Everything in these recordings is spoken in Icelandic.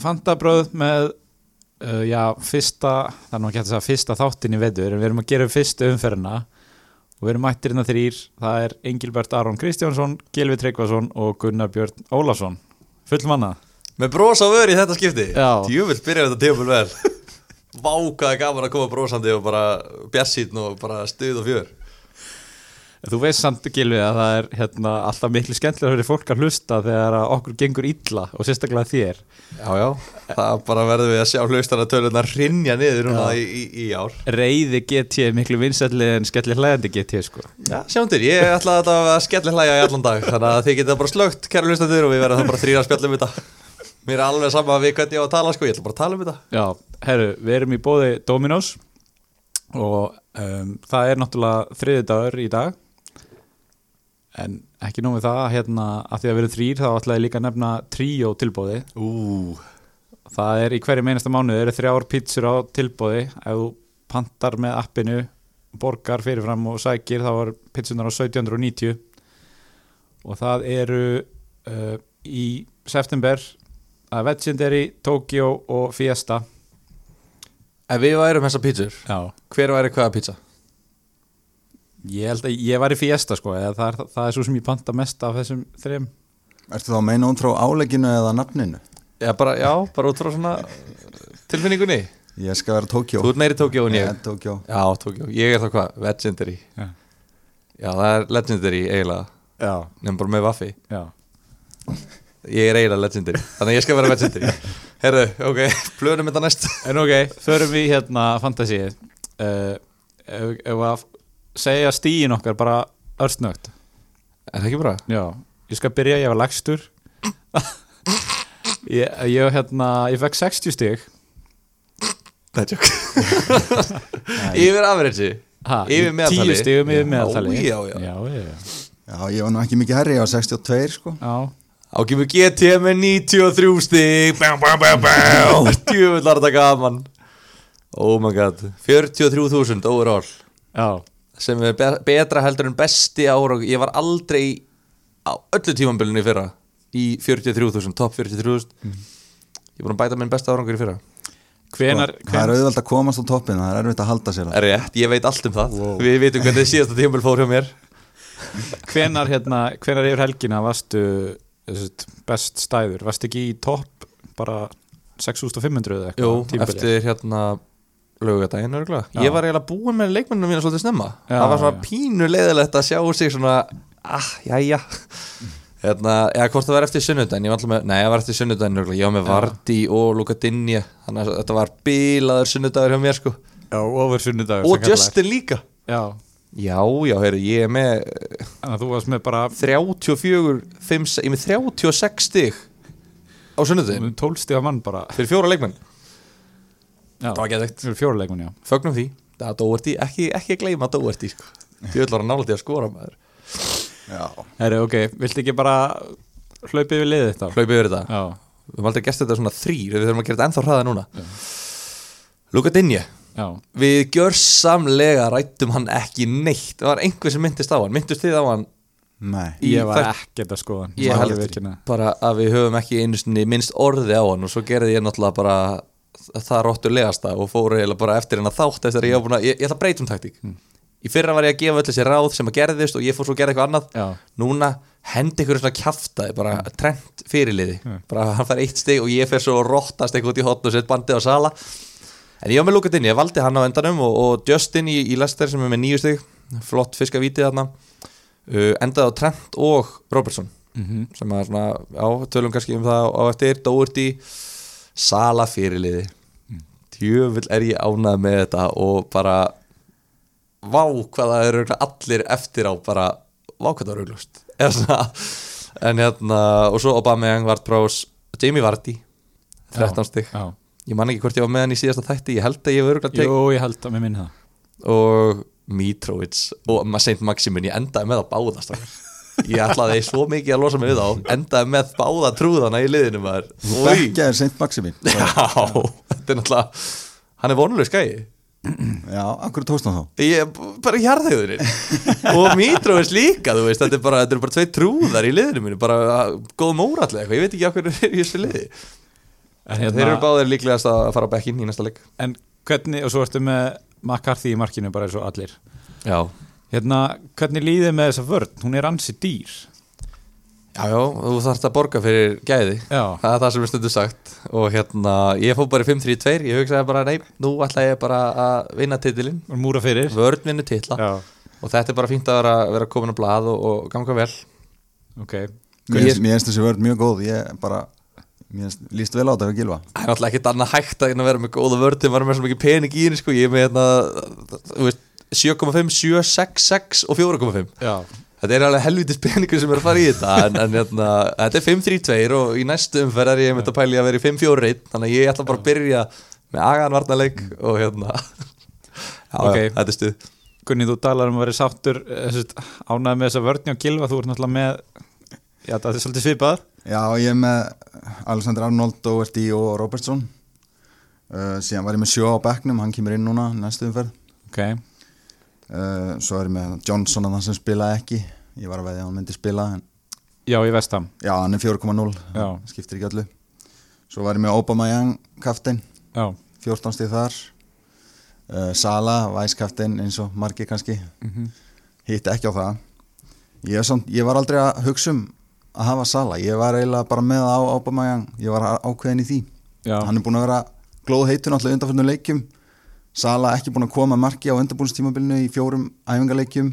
fantabröð með uh, já, fyrsta það er nú ekki hægt að segja fyrsta þáttin í vetur en við erum að gera upp fyrstu umferðina og við erum mættirinn að þrýr, það er Engilbert Aron Kristjánsson, Gilvi Tryggvason og Gunnar Björn Ólason full manna, Með bros á vör í þetta skipti Já. Djúvill byrjar þetta tímul vel Vá, hvað er gaman að koma brosandi og bara bjarsýtn og bara stuð og fjör þú veist samt Gilvi að það er hérna, alltaf miklu skemmtilega fyrir fólk að hlusta þegar að okkur gengur illa og sérstaklega þér Já, já, það bara verðum við að sjá hlustana töluna rinja niður núna í, í, í ár reyði GT er miklu vinsætli en skellir hlæðandi GT sko. Já, sjáum til, ég ætla þetta að skelli hlæja í allan dag Þannig að þið geta bara slögt, kæra hlustandur og við verðum það bara þrýra að spjalla um þetta Mér er alveg sama við hvernig ég á að tala sko, ég ætla bara að tala um þetta Já, herru, við erum í bóði Dominos og um, það er náttúrulega þriði dagur í dag en ekki nóg með það hérna, að því að við erum þrýr þá ætla ég líka að nefna tríó tilbóði Ú, það er í hverjum einasta mánuð eru þrjár pítsur á tilbóði ef þú pantar með appinu borgar fyrirfram og sækir þá var pítsunar á 1790 og það eru uh, í september að Legendary, Tokyo og Fiesta ef við værum þessa pítsur, Já hver væri hvaða pítsa? Ég held að ég var í fiesta sko eða það er, það er svo sem ég panta mest af þessum þrejum Ertu þá að meina út frá álegginu eða nafninu? Já, bara, já, bara út frá svona tilfinningunni Ég skal vera Tókjó Þú ert meiri Tókjó en ég Ég er Tókjó Já, Tókjó, ég er þá hvað, legendary Já. Já, það er legendary eiginlega, Já, nefnum bara með vaffi já. Ég er eiginlega legendary, þannig að ég skal vera legendary Herðu, ok, plönum þetta næst En ok, förum við hérna fantasíið uh, ef, ef að segja stíin okkar bara örstnögt Er það ekki bra? Já, ég skal byrja, ég var lagstur Ég, ég hérna, ég fekk 60 stík Nei, tjók Yfir average Ha, Yfir meðaltali. 10 stígum yfir meðaltali Já, já, já. já, já. Já, ég var nú ekki mikið herri, ég var 62 sko já. Þá kemur GT með 93 stig Bá, bá, bá, bá Djúvillar þetta gaman Oh my god 43.000 overall já. Sem er be- betra heldur en besti ára Ég var aldrei á öllu tímambilinu í fyrra Í 43.000, top 43.000 Ég er búin að bæta minn besta árangur í fyrra Hvenar, Sko, Það er hvenar, auðvelt að komast á toppin, það er erfitt að halda sér það. Er rétt, ég veit allt um það Við vitum hvernig síðasta tímambil fór hjá mér hvenar, hérna, hvenar yfir helgina varstu þessi, best stæður, varstu ekki í topp bara 6500 eða Jú, eitthvað tímabilið? eftir hérna lögadaginn örgulega Já. Ég var eiginlega búin með leikmennum mína svolítið snemma Já, Það var svona já. pínu leiðilegt að sjá sig svona Ah, jæja Hérna, eða hvort það var eftir sunnudaginn Ég var alltaf með, nei, það var eftir sunnudaginn örgulega Ég var með Vardí og Luka Dinja Þannig að þetta var bílaður sunnudagur hjá mér sko Já, ofur sunnudagur sem Og kallaður. Justin líka Já, Já, já, heyrðu, ég er með þannig að þú varst með bara 34, 5, ég er með 36 stig Á sunnudaginn 12 stíða mann bara Fyrir fjóra leikmenn Já, Það var geðveikt. fyrir fjóruleikun, já Fögnum því Það er Dóerti, ekki, ekki gleyma Dóerti sko. Þú ætlar að nála því að skora maður Já, Herri, ok, viltu ekki bara hlaupið við liðið þetta? Hlaupið yfir þetta Já, Við höfum aldrei gert þetta svona þrýr Við þurfum að gera þetta ennþá hraða núna Luka Dinje já, Við gjörsamlega rættum hann ekki neitt Það var einhver sem myndist á hann Myndust þið á hann nei í ég var þætt- ekkert að skoða hann, Ég skal held viðurkenna. bara að við höfum ekki einu sinni minnst orði á hann og svo gerði ég náttúrulega bara það róttulegasta og fór eiginlega bara eftir hennar þátt eftir að ég var búin að, ég, ég ætla að breyta um taktík í fyrra var ég að gefa öll þessi ráð sem að gerðist og ég fór svo að gera eitthvað annað Já. núna hendi ykkur svona kjaftaði bara trend fyrirliði, bara hann fær eitt stig og ég fer svo að róttast eitthvað út í hotn og sett bandið á sala en ég var með lúkatinn, ég valdi hann á endanum og, og Justin í, í Lester sem er með nýju stig flott fiskavítið þarna uh, endaði á Trent og Robertson sem að svona, já, tölum kannski um það á eftir, Doherty Sala fyrirliði djöfull er ég ánað með þetta og bara vá hvað það eru örugglega allir eftir á bara, vá hvað það eru auglust eða svona, en hérna og svo Aubameyang, Vardprós, Jamie Vardy 13 stig Já, ég man ekki hvort ég var með hann í síðasta þætti ég held að ég hef öruglega já. tekið Jú, ég held að mér minna það og Mitrovic og Saint Maximin, ég endaði með að báða strákar. ég ætlaði svo mikið að losa mig við á endaði með báða trúðana í liðinu maður Þú Oj. bekkjaðir Saint Maximin Já, þetta er náttúrulega hann er vonuleg skæði Já, akkur tókst hann þá ég er bara hjarðhauðurinn og Mitrovic líka, þú veist þetta er bara, þetta eru bara tvei trúðar í liðinu mínu bara góð mórallega eitthvað, ég veit ekki á hverju er í þessu liði En, hérna- Þeir eru báðir líklegast að fara á bekkinn í næsta leik en hvernig, og svo ertu með McCarthy í markinu bara eins og allir Já, hérna, hvernig líðið með þessa vörn hún er ansi dýr já, já þú þarfst að borga fyrir gæði já, Það er það sem er stundu sagt og hérna, ég fór bara í 5-3-2 ég hugsaði bara, nei, nú ætla ég bara að vinna titilinn, hún múra fyrir vörn vinnu titla já, og þetta er bara fínt að vera, vera komin á blað og, og ganga vel ok Mér Ég- finnst- mér finnst þessi vörð mjög góð Ég bara, mér finnst- líst vel á þetta við gilva Það er náttúrulega ekkert annað hægt að en að vera með góða vörð þegar maður er með svo mikið pening í henni sko, ég er með hérna, þú veist, 7,5, 7, 6, 6 og 4,5 já, Þetta er alveg helvitis peningur sem er að fara í þetta en, en hérna, þetta er 5-3-2 og í næstu umferð er ég með að pæli að vera í 5-4-1 þannig að ég ætla bara að byrja með agaðan varnarleik og hérna Já, Ok. já, þetta er stuð Gunni, þú talar um að vera sáttur ánæði með þessa vörni og gilva þú ert náttúrulega með já, það er svolítið svipað Já, ég er með Alexander Arnold, Doherty og Robertson uh, síðan var ég með sjó á bekknum hann kemur inn núna næstu umferð ok, uh, svo er ég með Johnson að það sem spilaði ekki ég var að veðja að hann myndi spila en já, í vestam já, hann er 4,0, Já. skiptir ekki öllu svo var ég með Obama Young kaftin, já, 14 stíð þar uh, Sala, Vice kaftin eins og margi kannski hitt ekki á það ég, er samt, ég var aldrei að hugsa um að hafa Sala, ég var eiginlega bara með á Obama Young, ég var á- ákveðin í því já, hann er búin að vera glóð heitur náttúrulega undanfjörnum leikjum Sala ekki búin að koma að marki á undanbúinstímabilinu í fjórum æfingaleikjum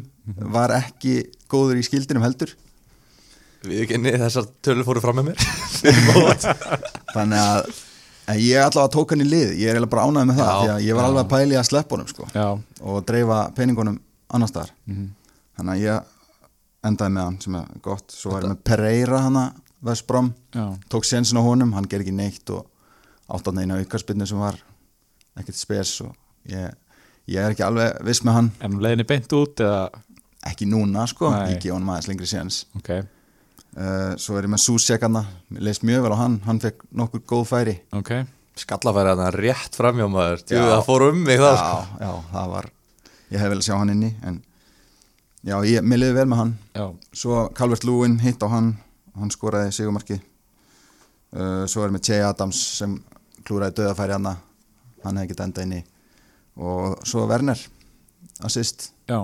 var ekki góður í skildinum heldur Við kynni þessar tölur fóru fram með mér þannig að en ég er allavega að tóka hann í lið ég er eiginlega bara ánægð með það Já, því að ég var alveg að pæli að sleppa honum sko, já, og dreifa peningunum annar staðar Mhm. þannig að ég endaði með hann sem er gott svo var ég með Pereira hana Vestbrom, já, tók sensin á honum hann ger ekki neitt og átt hann einu aukarspinnu sem var ekkert spes og ég, ég er ekki alveg viss með hann, en leiðinni beint út eða, ekki núna sko Nei. ég gef honum aðeins lengri séns ok, uh, svo er ég með Susjekana, leist mjög vel á hann hann fekk nokkur góð færi ok Skallafæri hann rétt framjá maður Jú, Já. það fór um mig já, það sko. já, það var ég hef vel að sjá hann inni en já, ég, mér liði vel með hann já, svo Calvert Lúin hitt á hann hann skoraði sigumarki uh, svo er með Che Adams sem klúraði döðafæri hann hann hefði ekki enda inn í og svo Werner assist, já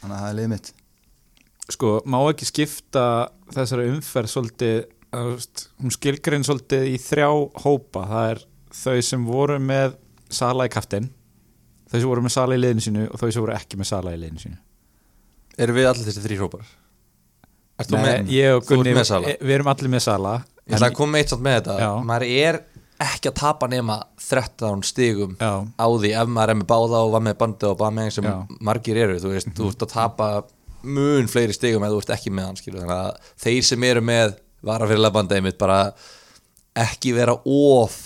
hann að það er liðið mitt sko, má ekki skipta þessari umferð svolítið þú veist, hún skilgrinn svolítið í þrjá hópa, það er þau sem voru með sala í kaftin þau sem voru með sala í liðinu sínu og þau sem voru ekki með sala í liðinu sínu Erum við allir þessi þrý hrópar? Ert þú Nei, með? ég og Þú ert Gunni, með Sala? e- við erum allir með sala Ég ætla að koma með eitt samt með þetta Já. Maður er ekki að tapa nema 13 stigum Já. á því ef maður er með báða og var með bandi og bameng sem Já. margir eru þú veist, þú ert að tapa mun fleiri stigum ef þú ert ekki með hann skilu þannig að þeir sem eru með varafyrirlega bandið mitt bara ekki vera of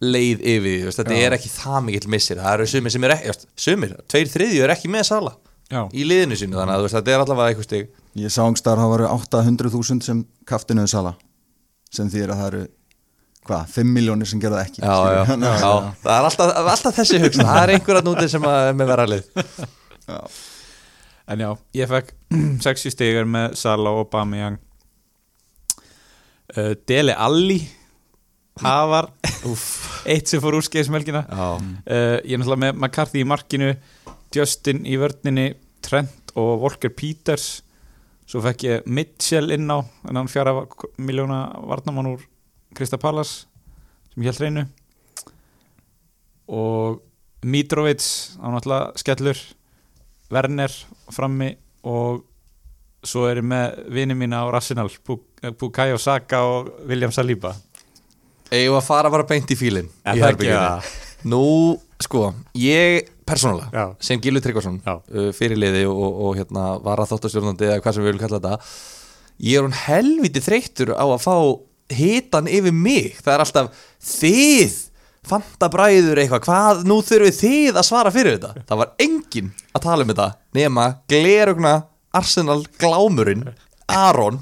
leið yfir því, þú veist, þetta er ekki það mikill missir, það eru sumir sem er ekki þú veist, sumir, tveir þriðju er ekki með sala Já. í liðinu sínu, þannig að þú veist, þetta er allavega eitthvað stig ég sá umstar það varu 800.000 sem kaftinuðu sala sem þýðir að það eru hvað, 5 miljónir sem gerða ekki já, já, skilur. já, það er alltaf, alltaf þessi hugsun það er einhverja nútið sem að, er með vera lið En já, ég fekk 60 stigar með Sala og Bamiyang uh, Dele Alli það var eitt sem fór úr skeiðsmelgina uh, Ég er náttúrulega með McCarthy í markinu Justin í vörninni Trent og Walker Peters Svo fekk ég Mitchell inn á en hann fjara miljóna varnamann úr Krista Pallas sem ég held reynu og Mitrovic á náttúrulega skellur Werner frammi og svo er ég með vini mína á Rational Bukayo Saka og William Saliba eigum að fara bara beint í fílin Er í það ekki herberginu. nú, sko, ég persónulega, Já. sem Gilvi Tryggvason Já. uh, fyrirliði og, og, og hérna var að þóttastjórnandi eða hvað sem við viljum kalla þetta ég er hún helviti þreyttur á að fá hitan yfir mig það er alltaf þið fantabræður eitthvað, hvað, nú þurfið þið að svara fyrir þetta, það var enginn að tala um þetta, nema glerugna Arsenal glámurinn Aron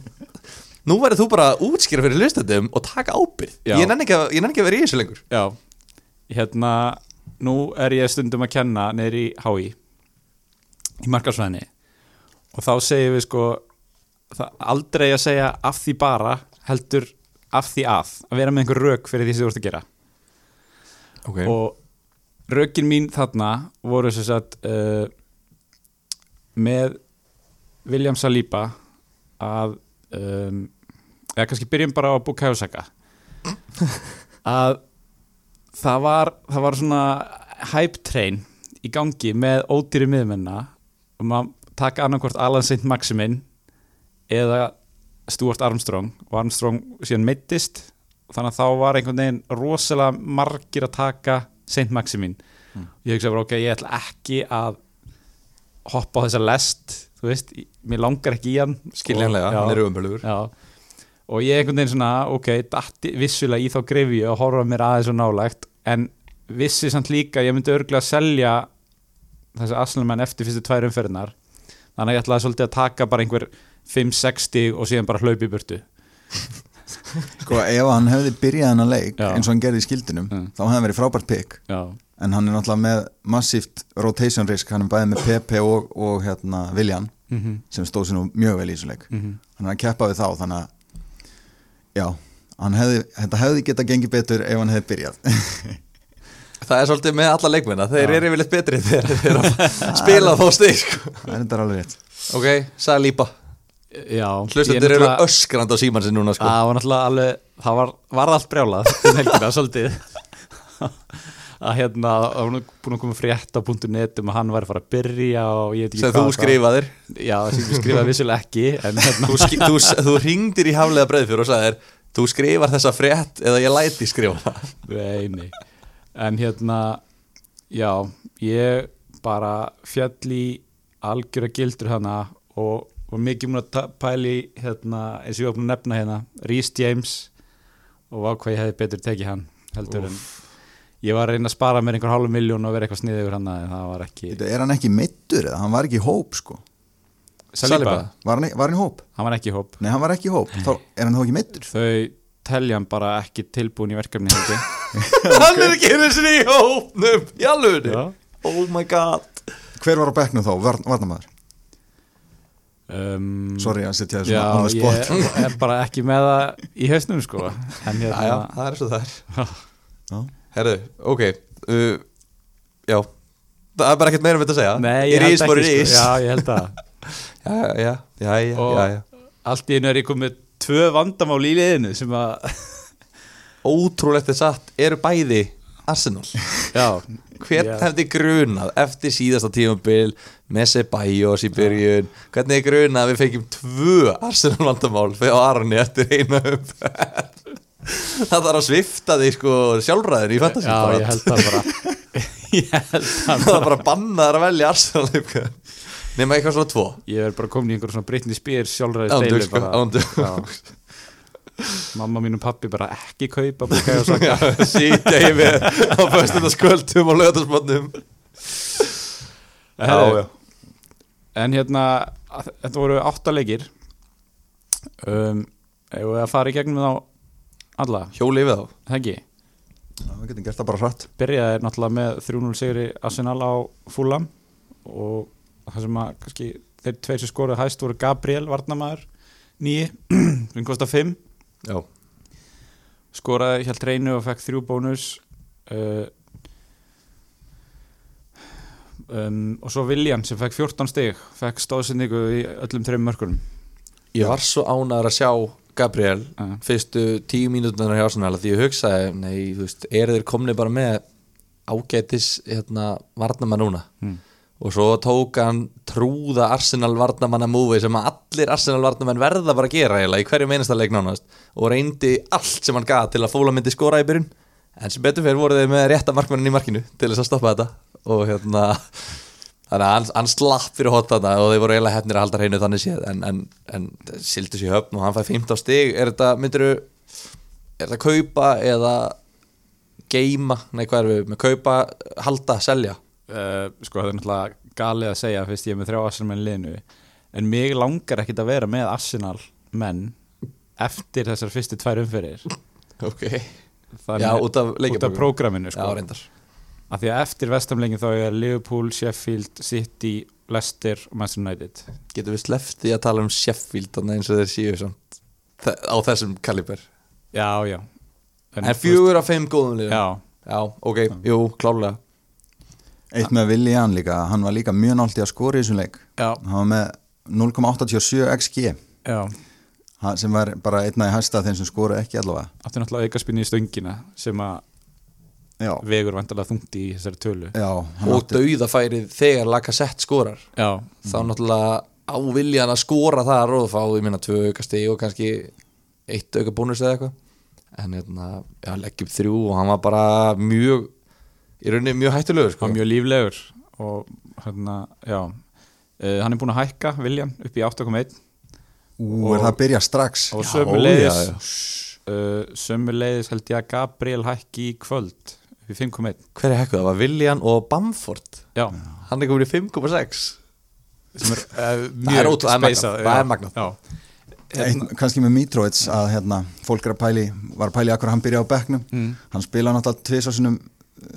nú verður þú bara að útskýra fyrir hlustendum og taka ábyrð, Já. ég nenni ekki að, ég nenni ekki að vera í þessu lengur Já, hérna nú er ég stundum að kenna neyri í HÍ í markarsvæðinni og þá segjum við sko það, aldrei að segja af því bara heldur af því að að vera með einhver rök fyrir því sem þú ert að gera okay. og rökin mín þarna voru sem sagt uh, með William Saliba að um, eða kannski byrjum bara á að búka hefusaka að það var, það var svona hype train í gangi með ódýri miðmenna um að taka annarkvort Alan St. Maximin eða Stuart Armstrong og Armstrong síðan meittist þannig að þá var einhvern veginn rosalega margir að taka St. Maximin Mm. ég hugsa bara ok, ég ætla ekki að hoppa á þessa lest þú veist, ég- mér langar ekki í hann skiljanlega, Og- já. hann er umhverfur Já, og ég einhvern veginn svona, ok, datti vissulega í þá grefju að horfa mér aðeins og nálægt en vissi samt líka að ég myndi örgulega að selja þessi Arsenalmenn eftir fyrstu tvær umferðinar þannig að ég ætlaði svolítið að taka bara einhver 5-60 og síðan bara hlaupi í burtu Sko ef hann hefði byrjað hennan leik Já. eins og hann gerði í skildinum Mm. þá hefði hann verið frábært pick Já, en hann er náttúrulega með massíft rotation risk, hann er bæðið með PP og, og hérna Viljan mm -hmm. sem stóð sér nú mjög vel í þessu leik Mm -hmm. hann er að keppa við þá þannig að já, hann hefði, þetta hefði getað gengið betur ef hann hefði byrjað það er svolítið með alla leikmenna, þeir Já. eru yfirleitt betri þegar þeir eru að spila þá stig sko. það er þetta alveg rétt ok, Saliba, Já hlustendur eru öskrand á síman sinni núna sko. Það var náttúrulega alveg, það var, var allt brjálað um helgina svolítið að hérna, það var nú búin að koma frétt á .net um að hann væri að fara að byrja og ég veit ekki sem þú og skrifaðir Já, sem ég skrifaði vissulega ekki en hérna, þú, sk- þú, s- þú ringdir í haflega breið og sagðir, þú skrifar þessa frétt eða ég læti skrifa það." nei, nei en hérna, já ég bara fjall í algjöra gildur hana og var mikið múin að ta- pæla í hérna, eins og ég var búin að nefna hérna Rhys James og vá hvað ég hefði betur tekið hann heldur en ég var að reyna að spara mér einhver hálf miljón og vera eitthvað sniðið yfir hann en það var ekki Þetta, er hann ekki meittur eða hann var ekki í hóp sko Saliba? var hann, var hann í hóp? hann var ekki í hóp Nei, hann var ekki í hóp, þá er hann þá ekki meittur þau telja hann bara ekki tilbúin í verkefni held ég. hann er ekki einu sinni í hópnum í alvöru Já. oh my god Hver var á bekknum þá, Var- varnamaður? um, Sorry að setja þessum Já, on the spot ég er bara ekki með það í hausnum sko en já, já, hérna, það er svo það er Já. herru, ok uh, já, það er bara ekkert meira um þetta að segja nei, ég ég rís held bara ekki rís sko. já, Já, ég held að já, já, já, já, Og- já, já. Allt í einu er ég komið tvö vandamál í liðinu sem að, ótrúlegt er satt, eru bæði Arsenal, já hvern ég- hefði grunað eftir síðasta tímabil með Sebajos í byrjun hvernig er grunað að við fengjum tvö Arsenal vandamál fyrir Arni eftir eina umferð það þarf að svifta því sko sjálfræðin í fantasy Já, bara. ég held að bara Ég held að það er bara bannaðar að velja Arsenal uppgöð nema eitthvað svona tvo Ég er bara komin í einhver svona Britney Spears sjálfræði steilu ándur sko, ándur Mamma mín og pappi bara ekki kaupa búkaði og Já, saka sýta í við á föstudagskvöldum og lögatarsmannum Herðu, En hérna, að- þetta voru átta leikir um, Ef við að fara í gegnum þá alla, hjóli yfir þá það ekki Já, við getum gert það bara hratt byrjaði þeir náttúrulega með 3-0 sigri Arsenal á Fulham og það sem að kannski þeir tveir sem skoruðu hæst voru Gabriel Varnamaður nýji, sem kostar 5 Já. skoraði hjá treinu og fekk þrjú bónus uh, um, og svo Viljan sem fekk 14 stig fekk stóðsendingu í öllum þreim mörkunum ég var svo ánæður að sjá Gabriel Já. fyrstu tíu mínútunar hjá Arsenal því ég hugsaði, nei, þú veist, eru þeir komni bara með ágætis hérna, varnamann núna Mm. og svo tók hann trúða Arsenal varnamanna múfi sem að allir Arsenal varnamenn verða bara að gera eiginlega í hverju meinasta leik nánast og reyndi allt sem hann gaf til að fóla myndi skora í byrjun en sem betur fyrir voru þeir með rétta markmannin í markinu til þess að stoppa þetta og hérna þannig að hann, hann slapp fyrir hot þarna og þeir voru eiginlega hefnir að halda hreinu þannig séð en, en, en sildi sér höfn og hann fæði 15 stig er þetta, myndiru er þetta kaupa eða geima, nei hvað erum við með kaupa, halda, selja uh, sko það er náttúrulega galið að segja fyrst ég er með þrjá Arsenal menn liðinu en mig langar ekkit að vera með Arsenal menn eftir þessar fyrstu tvær umferðir ok Þannig- Já, út af út af leikjaprógramminu. prógraminu sko. Já, reyndar af því að eftir vestamlengin þá er Liverpool, Sheffield, City Leicester og Manchester United Getum við sleppt því að tala um Sheffield Þannig eins og þeir séu samt þe- Á þessum kaliber já, já En fjögur af fimm góðum liðum já, Já, ok, jú, klárlega Eitt með Willian líka, hann var líka mjög nált í að skora í þessum leik já, Hann var með 0,87 XG já ha- sem var bara einna í hæsta þeim sem skora ekki allavega áttu náttúrulega aukaspinni í stöngina sem að Já, vegur vandalega þungti í þessari tölu já hann Og dauðafærið þegar Lacazette skorar já, Þá náttúrulega á viljan að skora þar og fá, ég minna, tvö auka stig og kannski eitt auka bónus eða eitthvað En hérna, já, leggjum þrjú og hann var bara mjög í rauninni mjög hættulegur hann sko. var mjög líflegur og hérna, já uh, hann er búin að hækka Viljan upp í 8,1 Ú, er það að byrja strax og Já, sömuleiðis já, já. uh, sömuleiðis held ég að Gabriel hækki í kvöld upp í 5,1 Hver er hekkuð? Það var William og Bamford já, Hann er komin í 5,6 sem er uh, Það er ótrú- það er magnað, spacað, það já, er magnað. já, Eitt, kannski með Mitrovic að hérna, fólk er að pæli, var að pæli akkur hann byrja á bekknum hann spila náttúrulega tvisasunum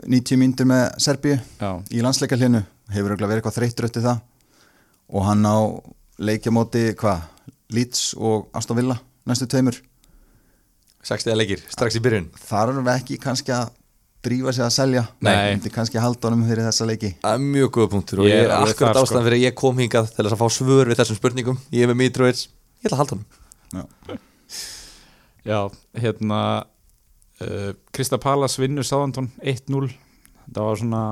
90 myndir eh, með Serbíu já, í landsleikarlinu, hefur örugglega verið eitthvað þreyttur eftir það og hann á leikjamóti, hvað, Leeds og Aston Villa næstu tveimur 60 leikir, strax í byrjun þar erum við ekki kannski að drífa sig að selja Nei. Myndi kannski halda honum fyrir þessa leiki Það er mjög góða punktur og Ég er ég er alveg akkurat þar, ástæðan sko. fyrir að ég kom hingað til þess að fá svör við þessum spurningum Ég er með Mitrovic, ég ætla að halda hann Já. já, hérna uh, Krista Palas vinnur Sáðantón 1-0 það var svona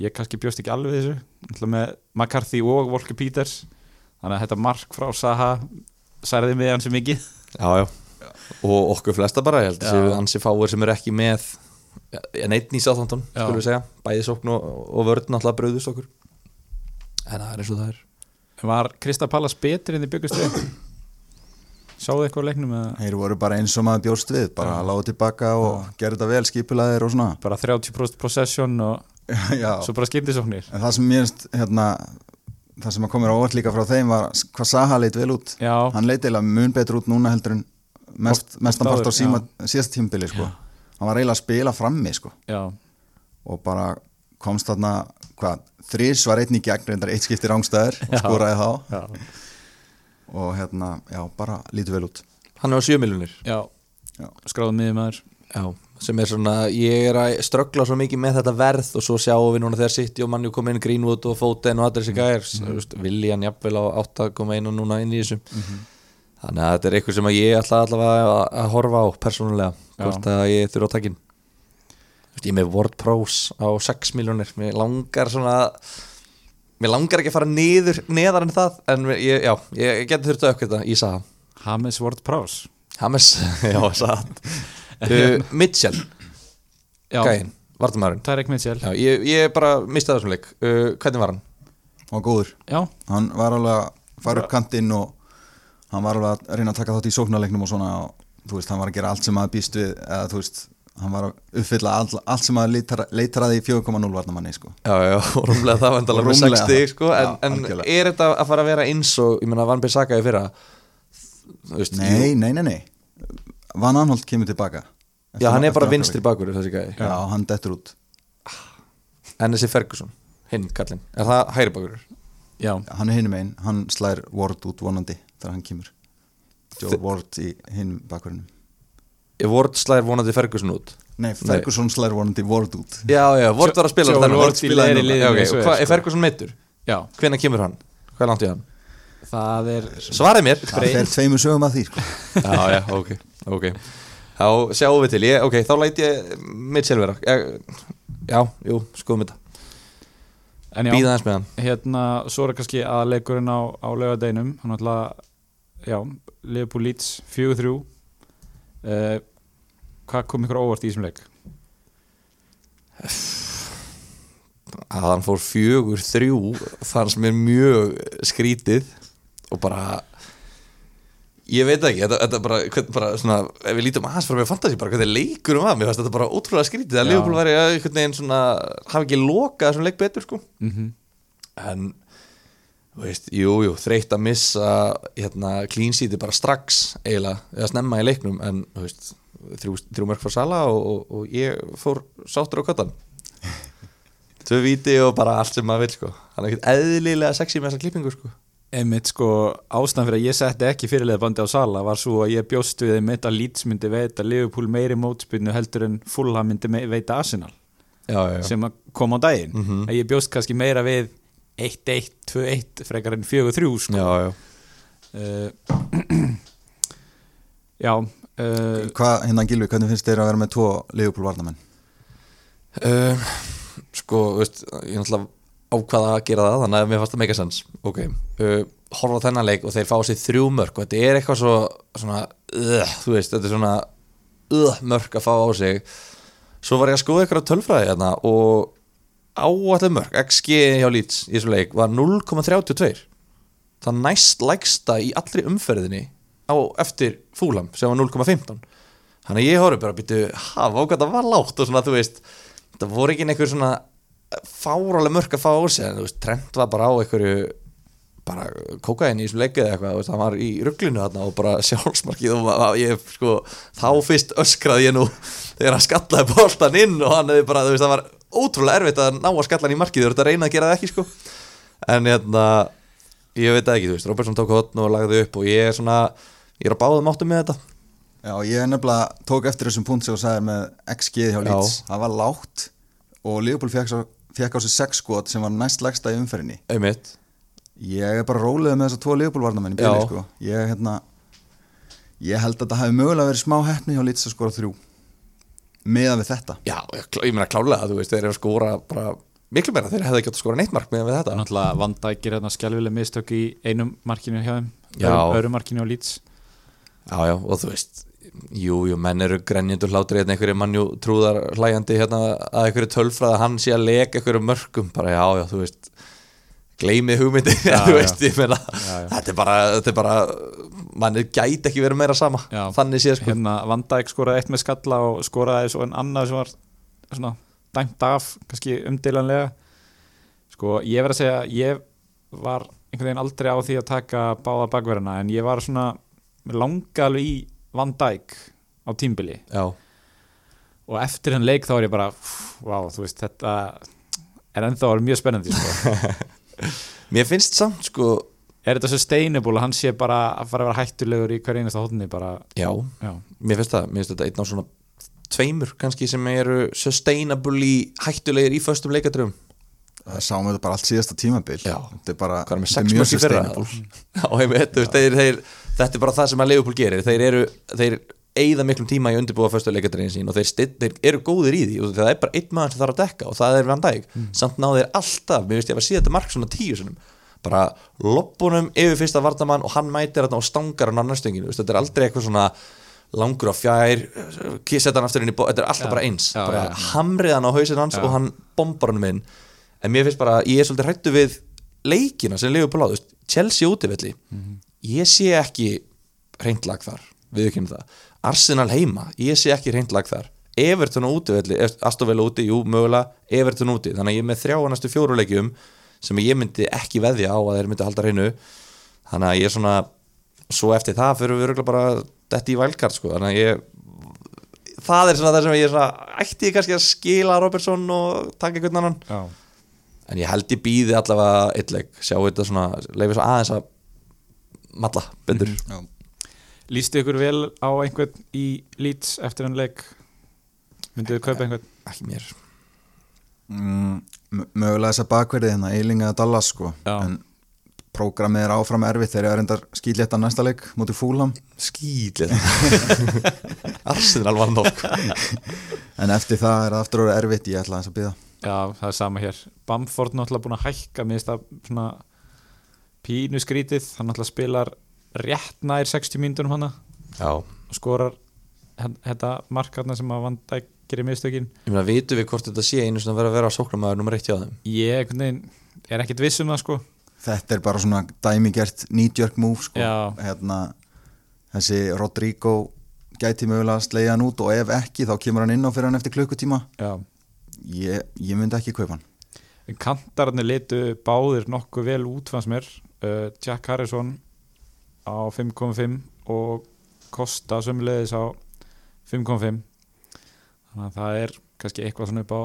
ég kannski bjóst ekki alveg þessu Ætla með McCarthy og Walker Peters þannig að þetta mark frá Saha særði mig hans mikið Já, já Og okkur flesta bara, ég held Já. þessi ansi fáir sem eru ekki með en einn í sáþóndun, Já. skulum við segja bæði sókn og, og vörðin alltaf bröðust okkur En það er eins og það er Var Krista Pallas betri en þið byggust við? Sáðu eitthvað á leiknum eða þeir voru bara eins og maður bjóst við bara að láta tilbaka og gera þetta vel skipulaðir og svona bara 30% possession og Já. svo bara skiptisóknir En það sem mér finnst, hérna, það sem að komir á óvart líka frá þeim var s- hvað Saha leit vel út. Já, Hann leit eiginlega mun betur út núna heldur en mest, Oft- mestan part á oft áður, síma, síðast tímbili, sko. Hann var eiginlega að spila frammi, sko. já, Og bara komst þarna, hvað, þrís var einn í gegn, reyndar eitt skipti rángstæður og Já. skoraði þá. já, Og hérna, já, bara lítið vel út. Hann er á 7 miljonir já. Já. skráðum miður maður Já, sem er svona, ég er að ströggla svo mikið með þetta verð og svo sjáum við núna þegar City og Manju kom inn Greenwood og Foden og allir þessi gæjar mm. Viljan jafnvel á 8,1 og núna inn í þessu Þannig að þetta er eitthvað sem að ég ætla allavega að, að horfa á persónulega, Já. hvort að ég þurfa á takin Ég er með WordPros á 6 miljónir, mér langar svona mér langar ekki að fara niður neðar en það, en mér- ég, já ég geti þurft að aukvita í Saha Hames Ward Prowse Hames, já, satt uh, Mitchell Já, Gæinn, vartamæðurinn Tarek Mitchell Já, ég, ég bara mistaði þessum leik uh, Hvernig var hann? Og góður. Já, Hann var alveg að fara upp kantinn og hann var alveg að reyna að taka þátt í sóknarleiknum og svona og þú veist, hann var að gera allt sem að býst við eða þú veist, hann var að uppfylla allt, allt sem að leitar, leitaraði í 4.0 varnamanni sko. Já, já, og rúmlega það vandalega með Rúmlega 6 stig sko, það. en, Já, en algjörlega. er þetta að fara að vera eins og ég meina Van Bissaka í fyrra Þú veist, Nei, jú, nei, nei, nei Van Anholt kemur tilbaka Já, hann er bara vinstri baka bakur þessi gæði Já, hann dettur út En þessi Ferguson, hinn kallinn Er það hægri bakur? já, Hann er hinum einn, hann slær Ward út vonandi þegar hann kemur Joe Ward í hinum bakverðinum Ég Ward slæðir vonandi Ferguson út Nei, Ferguson slær vonandi Ward út Já, já, Ward var að spila Joe þarna. Ward spilaði núna. í liðinu Já, ok, eins og er, hva, Er sko. Ferguson meittur? já Hvenær kemur hann? Hvað langt í hann? Það er Svarið mér Það fer tveimur sögum að því sko. já, já, ok, ok þá sjáum við til, ég, ok, þá læt ég mitt sjálfur já, jú, skoðum þetta, En já, býða aðeins með hann hérna, svo er kannski að leikurinn á, á laugardeinum Hann alltaf, já, Liverpool Leeds 4-3 uh, Eh, Hvað kom ykkur á óvart í þessum leik? að hann fór fjögur þrjú fannst mér mjög skrítið og bara ég veit ekki, þetta, þetta bara, hvern, bara svona, ef við lítum aðeins frá mér fantasi bara hvernig leikur um að mér, fannst þetta bara ótrúlega skrítið að Já. Leopold væri að einhvern veginn svona hafi ekki lokað þessum leik betur sko Mm -hmm. en þú veist, jú, jú, þreytt að missa hérna, clean seati bara strax eiginlega, eða snemma í leiknum en þú veist, þrjú, þrjú mörg frá sala og, og, og ég fór sáttur á kottan tvö viti og bara allt sem maður vil sko hann er ekkert eðlilega sexy með þessa klippingu sko einmitt sko ástæðan fyrir að ég setti ekki fyrirliðabandi á Sala var svo að ég bjóst við einmitt að Leeds myndi veita Liverpool meiri mótspinnu heldur en Fulham myndi me- veita Arsenal já, já, já. sem að kom á daginn að ég bjóst kannski meira við 1-1, 2-1 frekar en 4-3 sko. já, já. Uh, já uh, Hvað, hérna Gilvi, hvernig finnst þér að vera með tvo Liverpool varnamenn? Um, sko, veist, ég náttúrulega ákvaða að gera það, þannig að mér fannst það megasens ok, uh, horfa á þennan leik og þeir fá sér þrjú mörg og þetta er eitthvað svo svona, uh, þú veist, þetta er svona uh, mörg að fá á sig svo var ég að skoða eitthvað tölfræði hérna og áallir mörg XG hjá Leeds í þessum leik var 0,32 það næst lægsta í allri umferðinni á eftir fúlam sem var 0,15 þannig að ég horfði bara að býtu hafa hvað það var lágt og svona þú veist það voru ekki einhver svona fárálega mörg að fá á sig en þú veist Trent var bara á einhverju bara kókaðin í þessum leikið eða eitthvað þú veist, hann var í rugglinu þarna og bara sjálfsmarkið og maður- ég sko þá fyrst öskraði ég nú þegar hann skallaði boltan inn og hann hefði bara þú veist það var ótrúlega erfitt að ná að skalla hann í markið þú veist að reyna að gera það ekki sko en hérna ég veit það ekki, þú veist, Robertson tók hotn og lagði upp og ég er svona, ég er á báðum áttum með þetta Já, ég er nefnilega tók eftir þessum punkt sem þú sagðir með XG hjá Leeds, Já. það var lágt og Liverpool fekk, svo- fekk á sig sex skot sem var næst lægsta í umferðinni einmitt, Ég er bara rólega með þessa tvo Liverpool varnamenn í Já. byrju, sko ég, hérna, ég held að það hafi mögulega verið smá heppni hjá Leeds að skora þrjú meðan við þetta já, ég, klá- ég meina klálega þú veist, þeir eru að skora bara miklu meira, þeir hefði ekki átt að skora neitt mark meðan við þetta náttúrulega vandækir hérna skjálfileg mistök í einum markinu hjá þeim Já. öðru- öðru markinu á Leeds já, já, og þú veist, jú, jú, menn eru grenjandi og hlátri hérna, einhverju mannjú trúðar hlæjandi hérna að einhverju tölfrað að hann sé að leka einhverju mörgum bara já, já, þú veist gleymi hugmyndir, Já, þú já. veist, ég meina já. þetta er bara, þetta er bara mannir gæti ekki verið meira sama Já. þannig séð sko, hérna Vandæk skoraði eitt með skalla og skoraði svo en annað sem var svona dæmt af, kannski umdeilanlega sko, ég verð að segja ég var einhvern veginn aldrei á því að taka báða bakverðina en ég var svona mig langaði alveg í Vandæk á tímbili já, og eftir henn leik þá er ég bara vá, þú veist, þetta er ennþá mjög spennandi sko. mér finnst samt sko er þetta sustainable að hann sé bara að fara að vera hættulegur í hver einasta hóttinni bara, já, já, mér finnst það, mér finnst þetta einn á svona tveimur kannski sem eru sustainably hættulegir í föstum leikadröfum það sáum við þetta bara allt síðasta tímabil Já. þetta er bara hvað er með þetta er sex mjög mörg í fyrra sustainable. Já, einmitt, þú veist, þeir, þeir, þetta er bara það sem að Leopold gerir þeir eru, þeir eigða miklum tíma í að undirbúa föstu leikadröfin sín og þeir, styr, þeir eru góðir í því og það er bara einn maður sem þarf að dekka og það er Van Dijk, samt náðu þeir alltaf mér finnst ég að sé þetta mark svona tíu sinum bara loppunum yfir fyrsta vartamann og hann mætir þarna og stangar hann á næstönginu þetta er aldrei eitthvað svona langur á fjær, setja hann aftur inn í bó þetta er alltaf Já. bara eins, Já, bara já. hamrið hann á hausinn hans og hann bombar hann minn en mér finnst bara, ég er svolítið hrættu við leikina sem Leopold á, þú veist, Chelsea útivelli ég sé ekki reynd lag þar, við ekki um það Arsenal heima, ég sé ekki reynd lag þar Everton á útivelli, Astofell úti jú, mögulega, Everton úti þannig að ég er með þrjá næstu fjóruleikjum sem ég myndi ekki veðja á að þeir myndi halda reynu þannig að ég er svona svo eftir það fyrir við örugglega bara detti í vælkart sko, þannig að ég það er svona það sem ég er svona ætti ég kannski að skila Robertson og taka einhvern annan já. en ég held ég býði allavega eitt leik sjá þetta svona, leiði svo aðeins að matla betur Já. lístu ykkur vel á einhvern í Leeds eftir henn leik mynduðu kaupa einhvern ekki mér Mm, mö- mögulega þess að bakverði hérna Eilinga að Dallas sko Já. en prógramið er áfram erfitt þegar ég er endar skýtlétta næsta leik mútið fúlam skýtlega Arsenal var nokk en eftir það er það aftur orðið erfitt ég ætla aðeins að býða já, það er sama hér Bamford náttúrulega búin að hækka minnst að svona pínu skrítið hann náttúrulega spilar rétt nær 60 mínútur um hana já, ég og skorar hen- þetta markarna sem að Vandæk gerir mistökin meina, vitum við hvort þetta sé einu svona verið að vera sóknamaður nummer eitt hjá þeim ég einhvern veginn er ekkert viss um það sko þetta er bara svona dæmigert nýtjörg múf sko Já. hérna, þessi Rodrigo gæti mögulega að sleiða hann út og ef ekki þá kemur hann inn á fyrir hann eftir klukkutíma já ég, ég myndi ekki kaupa hann Kantararnir litu báðir nokkuð vel út fannst mér uh, Jack Harrison á 5.5 og Kosta sömulegis á 5.5 þannig að það er kannski eitthvað svona upp á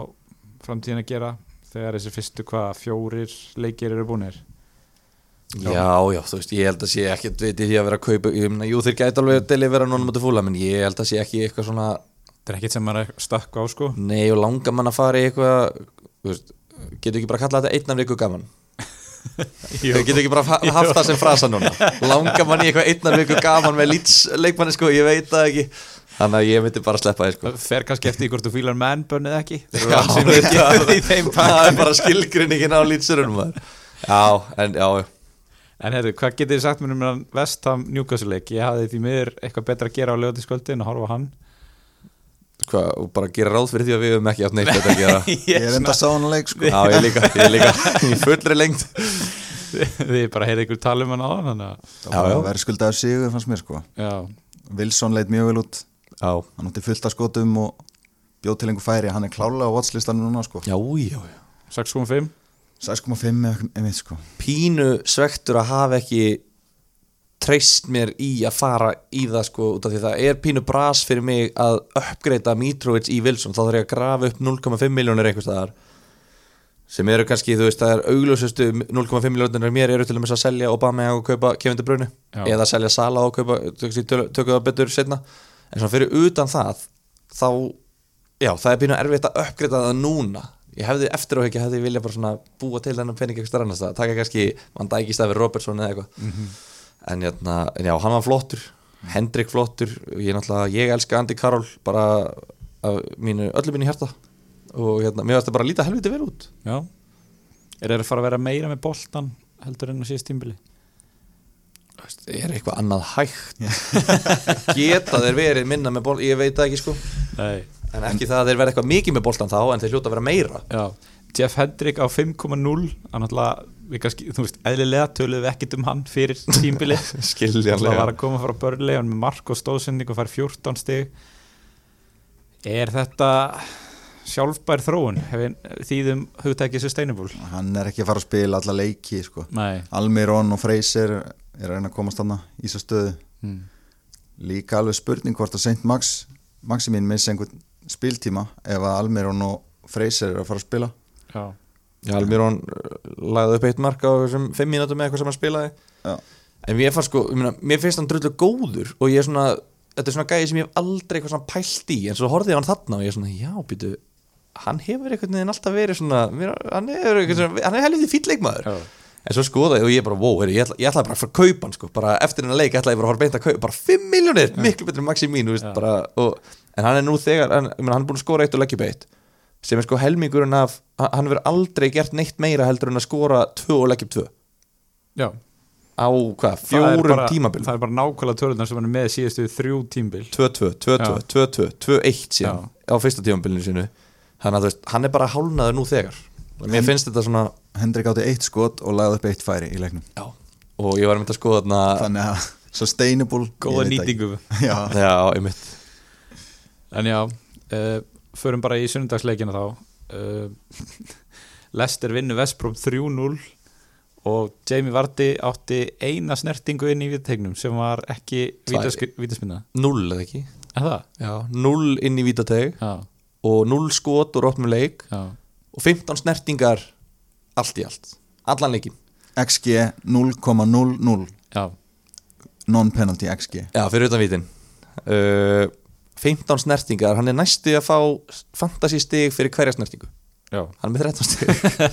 framtíðin að gera þegar þessi fyrstu hvað fjórir leikir eru búinir Já, já, þú veist, ég held að sé ekki veit ég því að vera að kaupa, ég meina, jú þeir gæti alveg að delivera núna mútið fúla, menn ég held að sé ekki eitthvað svona, þetta er ekkert sem maður er stökk á sko nei og langar mann að fara í eitthvað, þú veist getur ekki bara að kalla þetta einnar viku gaman Jú. þau getur ekki bara fa- haft það sem frasa núna langar mann í eitthvað einnar viku gaman með lýtsleikmanni sko, ég veit það ekki þannig að ég myndi bara að sleppa þið sko Það fer kannski eftir í hvort þú fílar mennbönnið ekki Já, ég veit það. í þeim það er bara skilgrinningin á lýtsurunum maður. já, en já, já En herru, hvað getið þið sagt mér um hann vestam njúkasleik? Ég hafði því miður eitthvað betra að gera á lögatiskvöldi en að horfa á hann Hva, og bara gera ráð fyrir því að við höfum ekki átt neitt betra að gera Ég er enda sánuleik sko Já, ég líka, ég líka, í fullri lengt Þið bara heyrði ykkur tala um hann á hann Það Já, já. var verðskuldaður sigur fannst mér sko Já, Wilson leit mjög vel út Já, hann átti fullt af skotum og bjóð til einhver færi, hann er klálega á vatslistanum núna sko, já, já, já 6.5 6.5 eða einmitt sko Pínu svektur að hafa ekki treyst mér í að fara í það sko út af því það er pínu bras fyrir mig að uppgreita Mitrovic í Wilson þá þarf ég að grafa upp 0,5 miljónir einhvers staðar sem eru kannski, þú veist, það er augljósustu 0,5 miljónir mér eru til dæmis að selja Obama og kaupa Kevin De Bruyne Já. eða selja Sala og kaupa tökst í töl- tökum það betur setna en svona fyrir utan það þá, já, það er pínu erfitt að uppgreita það núna ég hefði eftir á ekki, hefði ég vilja bara svona búa til þennan pening ekki annars það, taka kannski Van Dijk í staði fyrir Robertson eða eitthvað en, jæna, en já, hann var flottur Hendrik flottur, ég náttúrulega ég elska Andy Carroll bara af mínu, öllu mínu hjarta og hérna, mér varst það bara að líta helviti vel út Já Er það að fara að vera meira með boltan heldur en á síðast tímbili? Þú veist, er eitthvað annað hægt geta þeir verið minna með ból ég veit það ekki sko Nei en ekki það að þeir verið eitthvað mikið með bóltan þá en þeir hljóta að vera meira Já, Jeff Hendrick á 5.0 hann alltaf, við kannski, þú veist, eðlilega töluðum við ekkit um hann fyrir tímbili hann skiljanlega var að koma frá börnlega hann með mark og stóðsending og fær 14 stig er þetta sjálfbær þróun hef ég þýðum hugtækið sustainable hann er ekki að fara að spila alla leiki sko Nei, Almiron og Freyser er að reyna að komast hann í svo stöðu mm. líka alveg spurning hvort að St. Max Maximín missi einhvern spiltíma ef að Almiron og Freyser eru að fara að spila já Já, Almirón lagði upp eitt mark á þessum fimm mínútum eða eitthvað sem hann spilaði Já. en mér fannst sko, ég meina, mér finnst hann drullu góður og ég er svona, þetta er svona gæði sem ég hef aldrei eitthvað svona pælt í, en svo horfði ég á hann þarna og ég er svona, já, býtu hann hefur einhvern veginn alltaf verið svona mér, hann er, mm. er helviti fýtleikmaður Já. en svo skoðaði ég og ég bara, wow, heyrðu, ég, ætla, ég ætlaði bara að fara að kaupa hann sko, bara eftir hennar leik ætlaði ég bara að fara beint að kaupa, bara 5 miljónir miklu betri en Maximín, þú veist, Já. bara og, en hann er nú þegar, hann, ég meina, hann er búin að skora eitt og leggja upp eitt, sem er sko helmingurinn af hann hann hefur aldrei gert neitt meira heldur en að skora 2 og leggja upp 2 já á hvað, Það er fjórum bara- tímabil Það er bara nákvæmlega tölunar sem hann er með síðustu þrjú tímbil 2-2, 2-2, 2-2, 2-1 síðan Já. á fyrsta tímabilinu sinu þannig að þú veist, hann er bara hálnaður nú þegar og mér finnst þetta svona, Hendrik átti eitt skot og lagði upp eitt færi í leiknum já og ég var mynd að skoða þarna þannig að sustainable ég góða veit ekki. nýtingu Já. já, einmitt En já, uh, förum bara í sunnudagsleikina þá uh, Lester vinnu Vestbrom 3-0 og Jamie Vardy átti eina snertingu inn í viðtegnum sem var ekki Tvær. vítaspinna 0 eða ekki Er það? Já, 0 inn í vítateg Já, og 0 skot og rótnum leik já, og 15 snertingar allt í allt, allan leikin XG 0,00 já, non-penalty XG Já, fyrir utan vítin uh, 15 snertingar, hann er næstu að fá fantasy stig fyrir hverja snertingu já. hann er með 13 stig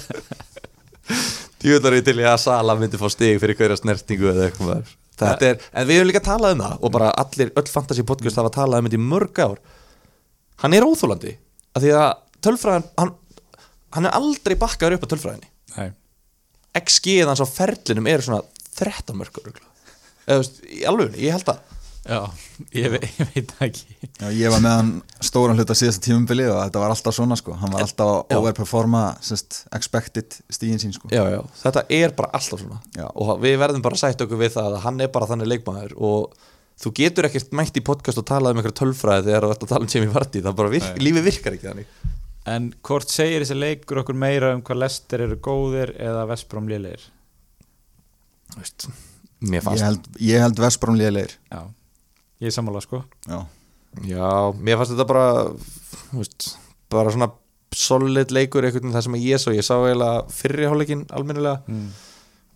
Djúðar við til ég að Sala myndi fá stig fyrir hverja snertingu eða eitthvað maður. Þetta er, en við höfum líka talað um það og bara allir, öll fantasy podcast hafa talað um þetta í mörg ár hann er óþólandi af því að tölfræðan hann, hann er aldrei bakkaður upp á tölfræðinni Nei, XG eða hans á ferlinum eru svona 13 mörgur eða þú veist, í alveg, ég held að já, ég, ve ég veit það ekki Já, ég var með hann stóran hluta síðasta tímumbili og þetta var alltaf svona sko, hann var alltaf Já. að overperforma sest, expected stíðin sín sko já, já. þetta er bara alltaf svona Já. og við verðum bara að sætt okkur við það að hann er bara þannig leikmaður og þú getur ekkert mætt í podcast og talað um einhverja tölfræði þegar þú ert að tala um Jamie Vardy það bara virk, lífið virkar ekki þannig En hvort segir þessi leikur okkur meira um hvað Lester eru góðir eða Vestbrom lélegir? Þú veist, mér Ég fannst held, ég held Vesbrón lélegir Já, ég er sammála sko Já, Já, mér fannst þetta bara þú veist, bara svona solid leikur einhvern veginn það sem ég svo, ég sá eiginlega fyrri hálfleikin almennilega mm.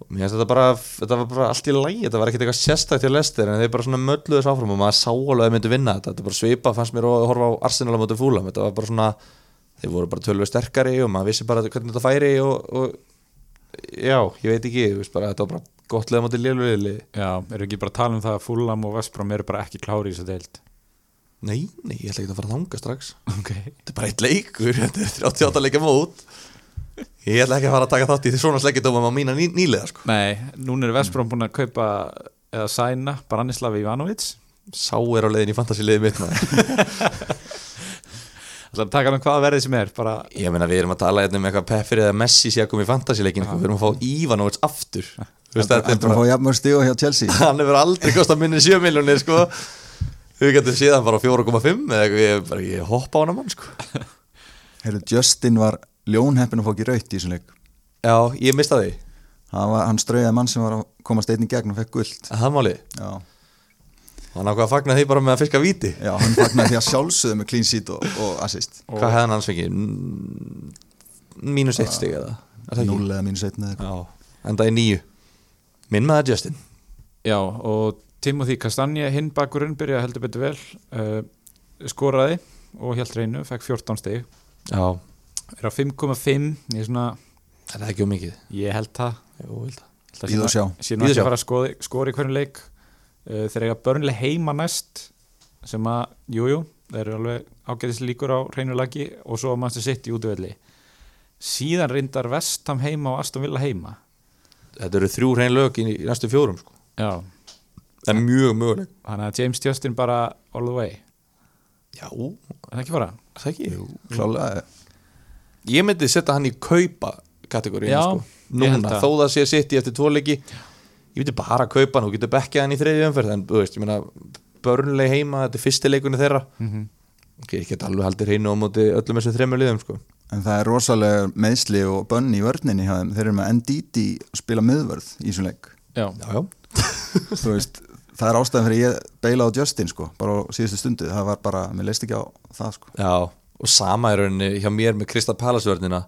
og mér finnst þetta bara, þetta var bara allt í lægi þetta var ekkert eitthvað sérstækt til lestir en þeir bara svona mölluðu þessu áfram og maður sá alveg að myndu vinna þetta þetta bara svipa, fannst mér að horfa á Arsenal á móti fúlam, þetta var bara svona þeir voru bara tölvöð sterkari og maður vissi bara hvernig þetta færi og, og já, ég veit ekki, þú veist bara þetta var bara gott leða móti lélugli Já, eru ekki bara að tala um það að Fulham og Vestbrom eru bara ekki klári í þessu deild nei, nei, ég ætla ekki að fara að þanga strax okay. þetta er bara eitt leikur, þetta er 38 leikja mót ég ætla ekki að fara að taka þátt í svona sleggjadómum á mína ný, nýlega sko. Nei, núna er Vestbrom búin að kaupa eða sæna Branislav Ivanovic sá er á leiðin í fantasíliðið mitt maður Það taka hann hvað verðið sem er bara, Ég meina við erum að tala hérna um eitthvað Peffir eða Messi sé að koma í fantasíleikin sko. Við erum að fá Ívanovic aftur Þú veist, þetta er Heldur að bara, fá jafnmörg stíu hjá Chelsea Hann hefur aldrei kostað minni 7 miljónir sko. Við getum síðan bara á 4,5 eða eitthvað, ég, bara, ég hoppa á hana mann sko. Heru, Justin var ljónheppin að fá ekki raut í þessum leik Já, ég mista því hann, var, hann strauðið mann sem var að komast einn í gegn og fekk guld Það er málið já, Hann ákvað að fagna því bara með að fiska víti já hann fagnar því að sjálfsögðu með clean sheet og, og assist Hvað hefði hann hans fengið? Mínus 1 stig eða Er það ekki? 0 eða mínus 1 eða eitthvað Já, enda í nýju Minn maður Justin Já, og Timothy Kastanje hinn bakurinn byrjaði heldur betur vel uh, skoraði og held reynu, fekk 14 stig Já, er á 5,5 ég, svona- er það ekki um mikið? ég held það Jú, ég held að Bíð og sjá. síðan Bíð og ekki sjá. að fara að skoði, skori hvernig leik uh, þeir eiga börnlega heima næst sem að, jújú, jú, þeir eru alveg ágætis líkur á hreinu lagi og svo mannstu sitt í útvöldi síðan reyndar vestam heima og Aston Villa heima Þetta eru þrjú hrein lög í, í næstu fjórum sko. já, Það er mjög möguleg þannig að James Justin bara all the way, Já, er það ekki bara? það ekki klálega Ég myndi setja hann í kaupa kategóriðinu Já, sko. ég held Núna, það. þó það sé sitt í eftir tvoleiki Ég myndi bara að kaupa hann og getur bekkjað hann í þriðju umferð En, þú veist, ég meina Börnleg heima, þetta er fyrsti leikunni þeirra Ok, ég get alveg haldið hreinu á móti öllum þessum þremur liðum sko. En það er rosalega meðsli og bönni í vörninni hjá þeim. Þeir eru með NDD að spila miðvörð í þessum leik. já, Já, já Þú veist, það er ástæðan fyrir ég beila á Justin sko, bara á síðustu stundu. Það var bara, mér leist ekki á það sko. Já, og sama er rauninni hjá mér með Krista Palasvörnina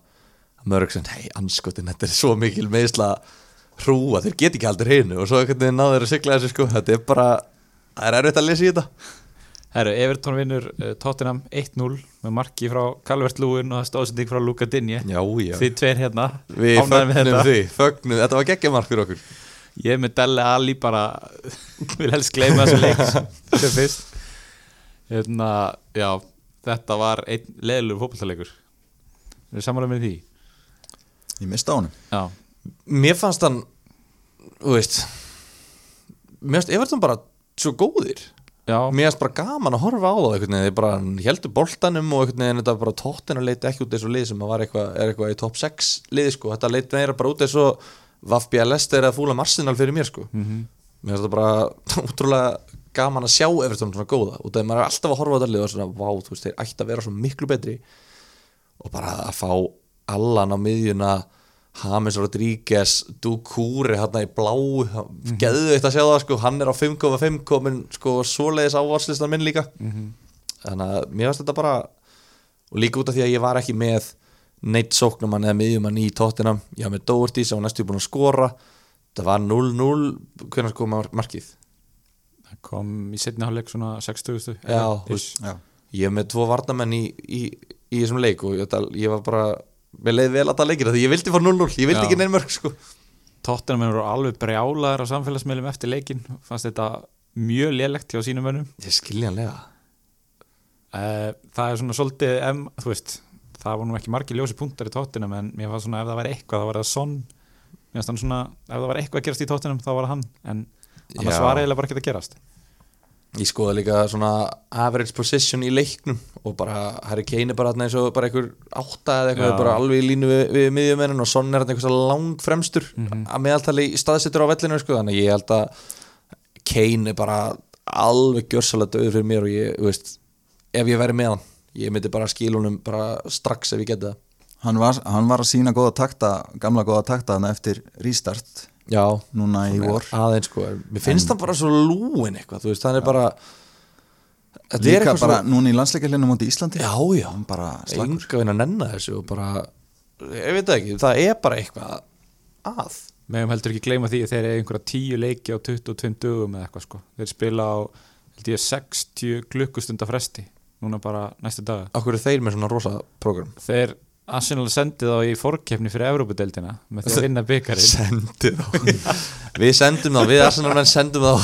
Mörgsen, hei, anskotin, þetta er svo mikil meðsla hrúa, þeir get ekki aldrei hreinu og svo einhvern veginn náður að sigla þessu sko þetta er bara, það er erfitt að lesa í þetta herru, Everton vinnur uh, Tottenham 1-0 með marki frá Calvert Lúin og það stóðsending frá Luka Dinje Já, já, því tveir hérna, við ánægðir með fögnum þetta. því fögnum, þetta var geggjamark fyrir okkur Ég er með Dele Alli bara vil helst gleyma þessu leik sem fyrst hérna, já, þetta var einn leðilur fótballtalegur Við erum samanlega með því Ég mista á hann. Já, Mér fannst hann, þú veist Mér fannst Everton bara svo góðir já, Mér fannst bara gaman að horfa á það einhvern veginn, þeir bara heldur boltanum og einhvern veginn þetta bara tóttin að leita ekki út þessu lið sem að var eitthvað, er eitthvað í top 6 lið sko, þetta leit meira bara út þessu Vafbja Lester eða Fúlam Arsenal fyrir mér sko, mér finnst þetta bara útrúlega gaman að sjá Everton svona góða, út af því maður er alltaf að horfa á þetta lið og svona, vá, þú veist, þeir ætti að vera svo miklu betri og bara að fá allan á miðjuna James Rodríguez, Dukúri hérna í blá, mm. geðu eitt að sjá það sko, hann er á 5,5 komin sko svoleiðis ávarslistan minn líka þannig að mér finnst þetta bara og líka út af því að ég var ekki með neitt sóknumann eða miðjumann í tóttinam, ég var með Doherty sem var næstu búin að skora það var 0-0 hvernig sko markið það kom í setni hálfleik svona 60 Já, þú veist, Já. ég er með tvo varnamenn í, í, í þessum leik og ég, ég var bara mér leiði vel að það leikir af því ég vildi fara 0-0 ég vildi Já. ekki neinn mörg sko Tottenham eru alveg brjálaðar á samfélagsmiðlum eftir leikin fannst þetta mjög lélegt hjá sínum önum ég skiljanlega Eh, Það er svona svolítið em, þú veist, það var nú ekki margir ljósi punktar í Tottenham en mér fannst svona ef það var eitthvað þá var það sonn Mér fannst hann svona, ef það var eitthvað að gerast í Tottenham þá var það hann en annars Já. var eiginlega bara ekki að gerast ég skoða líka svona average position í leiknum og bara Harry Kane er bara þarna eins og bara einhver átta eða eitthvað Já. bara alveg í línu við, við miðjumennin og Son er þarna einhversa lang fremstur að meðaltali staðsettur á vellinu sko þannig að ég held að Kane er bara alveg gjörsalega döður fyrir mér og ég, þú veist, ef ég væri með hann ég myndi bara skil honum bara strax ef ég geti það Hann var, hann var að sína góða takta, gamla góða takta hann eftir restart Já, núna í vor. aðeins sko mér finnst hann bara svo lúin eitthvað þú veist, hann er bara Þetta er Líka eitthvað bara svona- núna í landsleikilinu mútið Íslandi. Já, já, Hann bara slagur. enga vinn að nenna þessu og bara, ég veit það ekki, það er bara eitthvað að meðum heldur ekki gleyma því að þeir eru einhverja 10 leiki á 22 dögum eða eitthvað sko þeir spila á held ég 60 klukkustunda fresti núna bara næstu daga Akkur er þeir með svona rosa program þeir Arsenal sendi þá í fórkeppni fyrir Evrópudeldina með því að vinna byggarinn Sendið þá Við sendum þá, við Arsenal menn sendum þá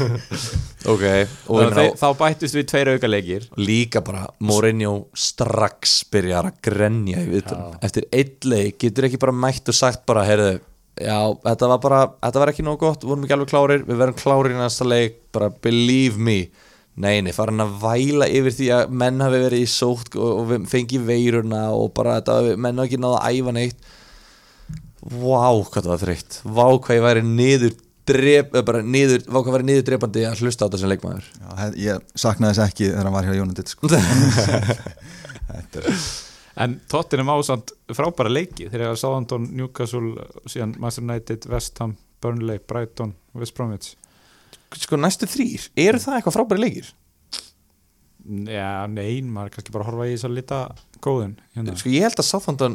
Ok, og ég meina, þá bættust við tveir auka leikir líka bara Mourinho strax byrjar að grenja í viðtölum Já. Eftir einn leik, getur ekki bara mætt og sagt bara, heyrðu Já, þetta var bara, þetta var ekki nóg gott, vorum ekki alveg klárir Við verðum klárir í næsta leik, bara believe me Nei, nei, farin að væla yfir því að menn hafi verið í sótt og, og við fengi veiruna og bara þetta, hafi- menn hafi ekki náða að æfa neitt Vá, hvað það var þreytt Vá, hvað ég væri niður drep, eh, bara niður, vá, hvað væri niður drepandi að hlusta á þetta sem leikmaður Já, he- ég saknaði þess ekki þegar hann var hjá Jónundit sko. Þetta er- en Tottenham ásand frábæra leiki þeir eru að Southampton, Newcastle síðan Master United, West Ham, Burnley Brighton, West Bromwich Sko, næstu þrýr, eru það eitthvað frábæri leikir? Já, nein, maður er kannski bara að horfa í þess að lita góðin hérna. Sko, ég held að Southampton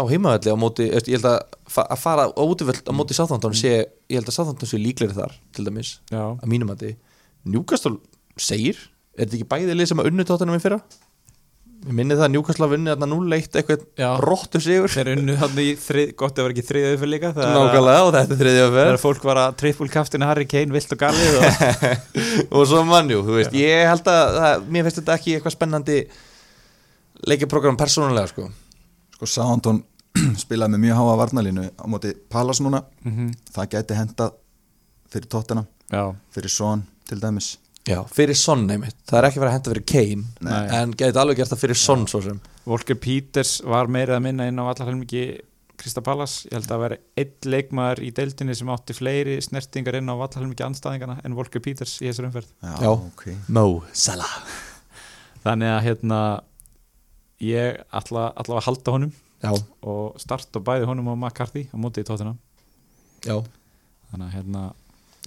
á heimavalli á móti, veist, ég held að, fa að fara á útivöld á móti Southampton sé, ég held að Southampton sé líklegri þar, til dæmis Já, að mínum að þið Newcastle segir, er þetta ekki bæði lið sem að unnu tóttanum í fyrra? Ég minni það að Newcastle að vunni þarna 0-1 Já. eitthvað róttu sigur þeir unnu þannig í þrið, gott að vera ekki þriðið fyrir líka Nákvæmlega og þetta er þriðja þegar ferð fólk var að trippulkaftina Harry Kane vilt og galið og og svo mannjú, þú veist, ég held að, að mér finnst þetta ekki eitthvað spennandi leikjaprogram persónulega sko. sko Sándón spilaði með mjög háa varnalínu á móti Palas núna það gæti hendað fyrir tóttina Mhm. já, fyrir Són til dæmis Já, fyrir Son einmitt, það er ekki verið að henda fyrir Kane Nei. en gæti alveg gert það fyrir Son svo sem Volker Peters var meira að minna inn á allar helmingi Krista Pallas, ég held að vera einn leikmaður í deildinni sem átti fleiri snertingar inn á vallarhelmingi anstæðingana en Volker Peters í þessar umferð já, Já. ok Mo Salah þannig að hérna ég ætla, ætla að halda honum Já, og starta bæði honum og McCarthy á móti í tóttina já þannig að hérna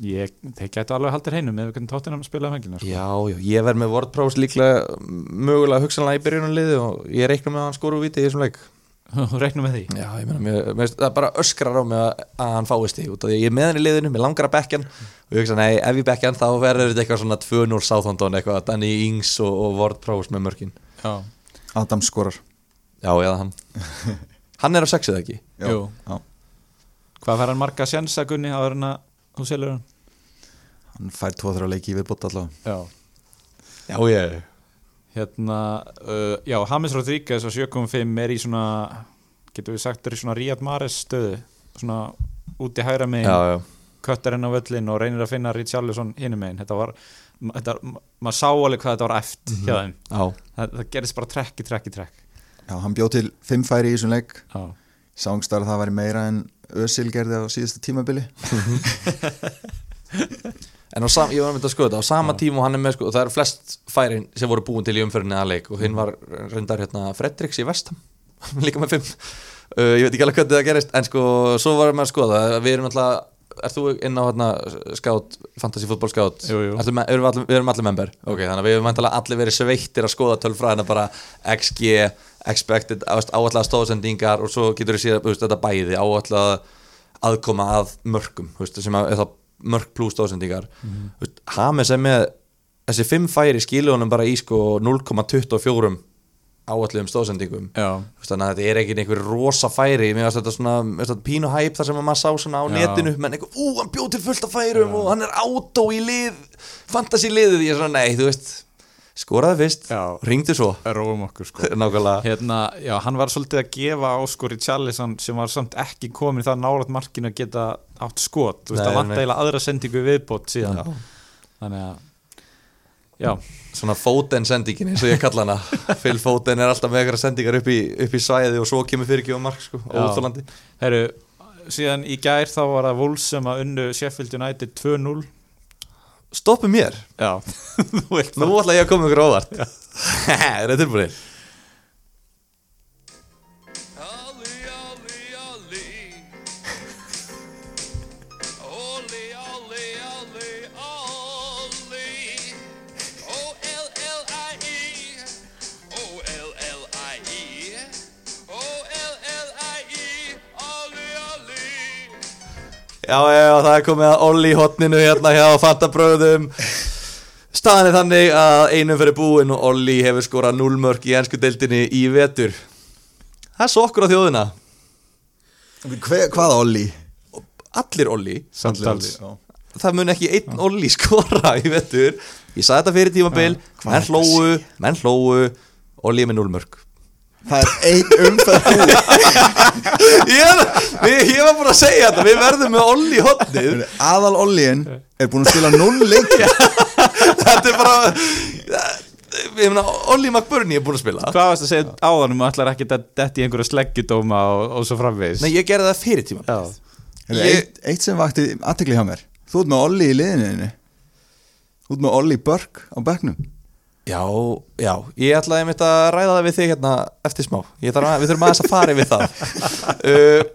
ég, þeir gætu alveg haldir heinum með hvernig tóttina spilaði fengina sko. Já, já, ég verð með WordPress líklega mögulega hugsanlega í byrjunum liði og ég reikna með að hann skora úr viti í þessum leik og reiknum með því Já, ég meina, mér, mér, finnst- það bara öskrar á mig að, að hann fáist því út af því að ég er með hann í liðinu, mér langar að bekkja hann og ég hugsa, nei, ef ég bekkja hann þá verður þetta eitthvað svona 2-0 sáþondón eitthvað, Danny Ings og, og WordPress með mörkin já, Adam skorar Já, eða hann Hann er á sexið ekki Já. Jú. Já. hvað fær hann marga sjensa Gunni á verðina hún selur hann hann fær tvo-þrjá leiki í viðbót allavega já. Já, ég hérna uh, já, Hamis Rodríguez á 7.5 er í svona getur við sagt er í svona Ríad Mares stöðu svona úti hægra megin Já, já köttar inn á völlin og reynir að finna Richarlison hinum megin þetta var, ma- þetta, ma- maður sá alveg hvað þetta var eft hjá þeim, Já, það, það gerist bara trekk í trekk í trekk já, hann bjóð til fimm færi í þessum leik já, sángstar að það væri meira en Özil gerði á síðasta tímabili En á sam, ég var með að skoða þetta, á sama tíma og hann er með sko, og það eru flest færin sem voru búin til í umfyrinni aðleik og Mm. hinn var reyndar hérna Fredriks í Vestham, líka með fimm uh, ég veit ekki alveg hvernig það gerist en sko, svo varum við að skoða, við erum alltaf er þú inn á hérna skátt fantasy fútból skátt, Jú, jú. Ertu með- erum við allir, við erum allir member ok, þannig að við erum væntanlega allir verið sveittir að skoða tölfræðina bara XG, expected áallega stóðsendingar og svo getur við séð þú veist, þetta bæði áallega aðkoma að mörkum þú veist, sem að er þá mörk pluss stóðsendingar Mhm. mm. Hames er með þessi fimm færi skilunum bara í sko 0,24 áallegum stóðsendingum já, Þú veist, þannig að þetta er ekki einhver rosa færi mér finnst þetta svona mér finnst þetta pínu hæp þar sem að maður sá svona á Já. netinu menn eitthvað, ú, hann bjóð til fullt af færum og hann er átó í lið fantasy liðið, ég er svona, nei, þú veist skoraði fyrst, Já. ringdu svo róum okkur sko nákvæmlega, hérna, já, hann var svolítið að gefa áskori Charlison sem var samt ekki komin það nálat markinu að geta átt skot, þú veist, Nei, það vant nei. eiginlega aðra sendingu í viðbót síðan Já. þannig að, já, svona Foden sendingin eins og ég kalla hana Phil Foden er alltaf með eitthvað sendingar upp í, upp í svæði og svo kemur fyrir ekki á mark sko, Já. óþólandi herru síðan í gær þá var það Wolves sem að unnu Sheffield United 2-0 stoppu mér, já, þú veit nú ætla ég að koma ykkur á óvart er þetta tilbúinir? Ollie, Ollie, Ollie. Ollie, Ollie, Ollie, Ollie. O L L I E. O L L I E. O L L I E. Ollie, Ollie. Já, já, já, það er komið að Olli í hotninu hérna hjá Fantabröðum Staðan er þannig að einum fyrir búin og Olli hefur skorað núlmörk í ennsku deildinni í vetur Það er sokkur á þjóðina Hve, Hvaða Olli? Allir Olli Samtals. Olli, já. Það mun ekki einn Olli skora í vetur Ég sagði þetta fyrir tímabil Menn hlóu, menn hlóu Olli er með núlmörk Það er ein umferð búin. ég, er- ég, ég var bara að segja þetta Við verðum með Olli í hotnið Aðal Ollien er búin að spila 0 leik Þetta er bara Ég meina, Olli McBurney er búin að spila Hvað varst að segja áðanum að ætlar ekki að detti í einhverja sleggjudóma og, og svo framvegis Nei, ég gerði það fyrir tíma Já, Heyrðu, Ég- eitt, eitt sem vakti aðtekli hjá mér Þú ert með Olli í liðinu þínu. Þú ert með Olli Börk á bekknum Já, já, ég ætlaði einmitt að ræða það við þig hérna eftir smá Ég þarf að, Við þurfum aðeins að fara yfir það uh,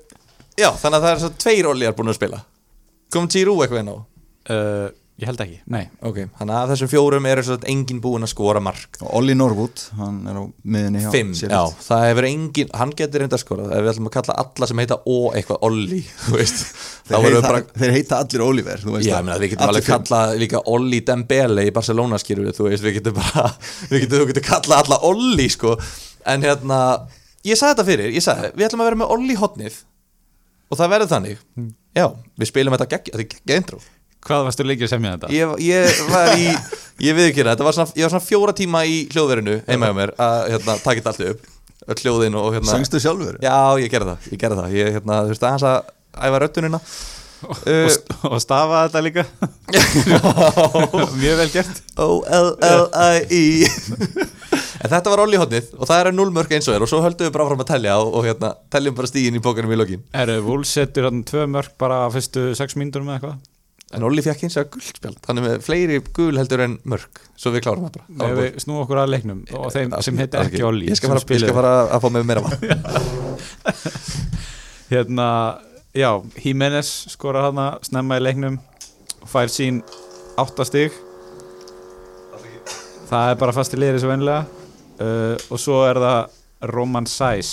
Já, þannig að það er svo tveir Olliar búin að spila Kom Giroux eitthvað inn á uh, ég held ekki, nei Ok, þannig að af þessum fjórum eru svo engin búin að skora mark og Olli Norwood, hann er á miðinni hjá Fimm, Sheffield. já, það hefur engin Hann getur reynda að skora, ef við ætlum að kalla alla sem heita Ó eitthvað Olli, þú veist Þá þeir, verður heita, bara þeir heita allir Oliver þú veist Já, það. ég meina, við getum Allir alveg fimm. kallað líka Olli Dembele í Barcelona skýrur við, þú veist, við getum bara við getum, við getum kallað alla Olli sko. en hérna, ég sagði þetta fyrir ég sagði, við ætlum að vera með Olli hotnið og það verður þannig Hmm. Já, við spilum þetta gegg, þetta er geggja intro Hvað varstu líkið að semja þetta? ég, ég var í, ég við ekki hérna þetta var svona, ég var svona fjóra tíma í hljóðverinu heima hjá mér, að hérna, taka þetta allt upp öll hljóðin og hérna Söngstu sjálfur? Já, ég gerði það, ég gerði það, ég hérna, þú veist, aðeins að æfa röddunina Og, Uh, st og stafa þetta líka Mjög vel gert O-L-L-I-E En þetta var Olli hotnið og það eru nullmörk eins og er og svo höldum við bara fram að tellja og, og hérna, telljum bara stígin í bókanum í lokin Eru Wolves setur hann tvö mörg bara á fyrstu sex mínútur með eitthvað? En Olli fekk eins og guldspjald Þannig með fleiri gul heldur en mörk Svo við klárum það bara Það Ef var við snúum okkur að leiknum og þeim bara- sem heita Það var ekki Olli Ég sem skal fara, ég skal spiluðu. fara að fá með meira vatn Hérna, já, Jiménez skorar hana snemma í leiknum og fær sín áttastig Það er bara fast í liðri svo venlega uh, og svo er það Roman Sæs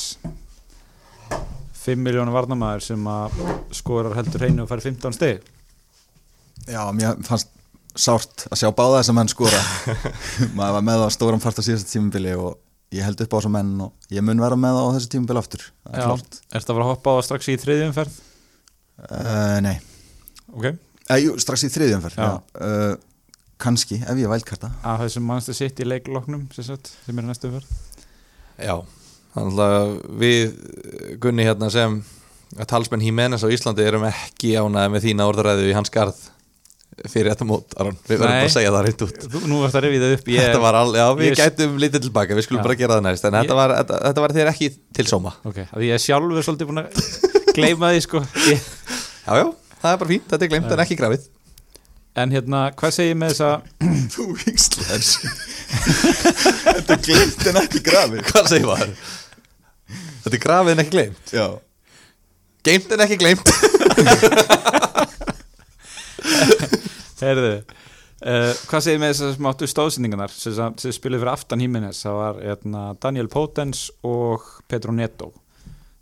5 miljónu varnamæður sem að skorar heldur hreinu og fær 15 stig já, mér fannst sárt að sjá báða þess að menn skora maður var með það á stóran fart á síðasta tímubili og ég held upp á þessu menn og ég mun vera með það á þessu tímubili aftur það er Já, klárt ertu að fara að hoppa á það strax í þriðjum ferð? uh, Nei, Ok, eh, jú, strax í þriðjumferð Já. uh, kannski, ef ég vælkarta að þessum mannstu sitt í leikloknum sem, sagt, sem er næstu ferð Já, þannig að við Gunni hérna sem talsmenn Hímenes á Íslandi erum ekki ánaði með þína orðaræðu í hans garð fyrir þetta mót, Aron Við verðum Nei. bara að segja það reynd út Þú- Nú varst að rifið það upp ég, Þetta var alveg, já við ég- gætum lítið tilbaka Við skulum Já. bara gera það næst Ég- En þetta, var, þetta, þetta var þér ekki til sóma Ok, að ég er sjálfur svolítið búin að gleyma því sko ég, Já, já, það er bara fínt, þetta er glemt en ekki grafið En hérna, hvað segir ég með þessa Þú vikslar Þetta er glimt en ekki grafi Hvað segir maður? Þetta er grafið en ekki glemt Já Geimt en ekki glemt Herðu, uh, hvað segir ég með þessa smáttu stóðsendingarnar sem, sem- sem spiluð fyrir aftan híminnes það var hérna, Daniel Potens og Pedro Neto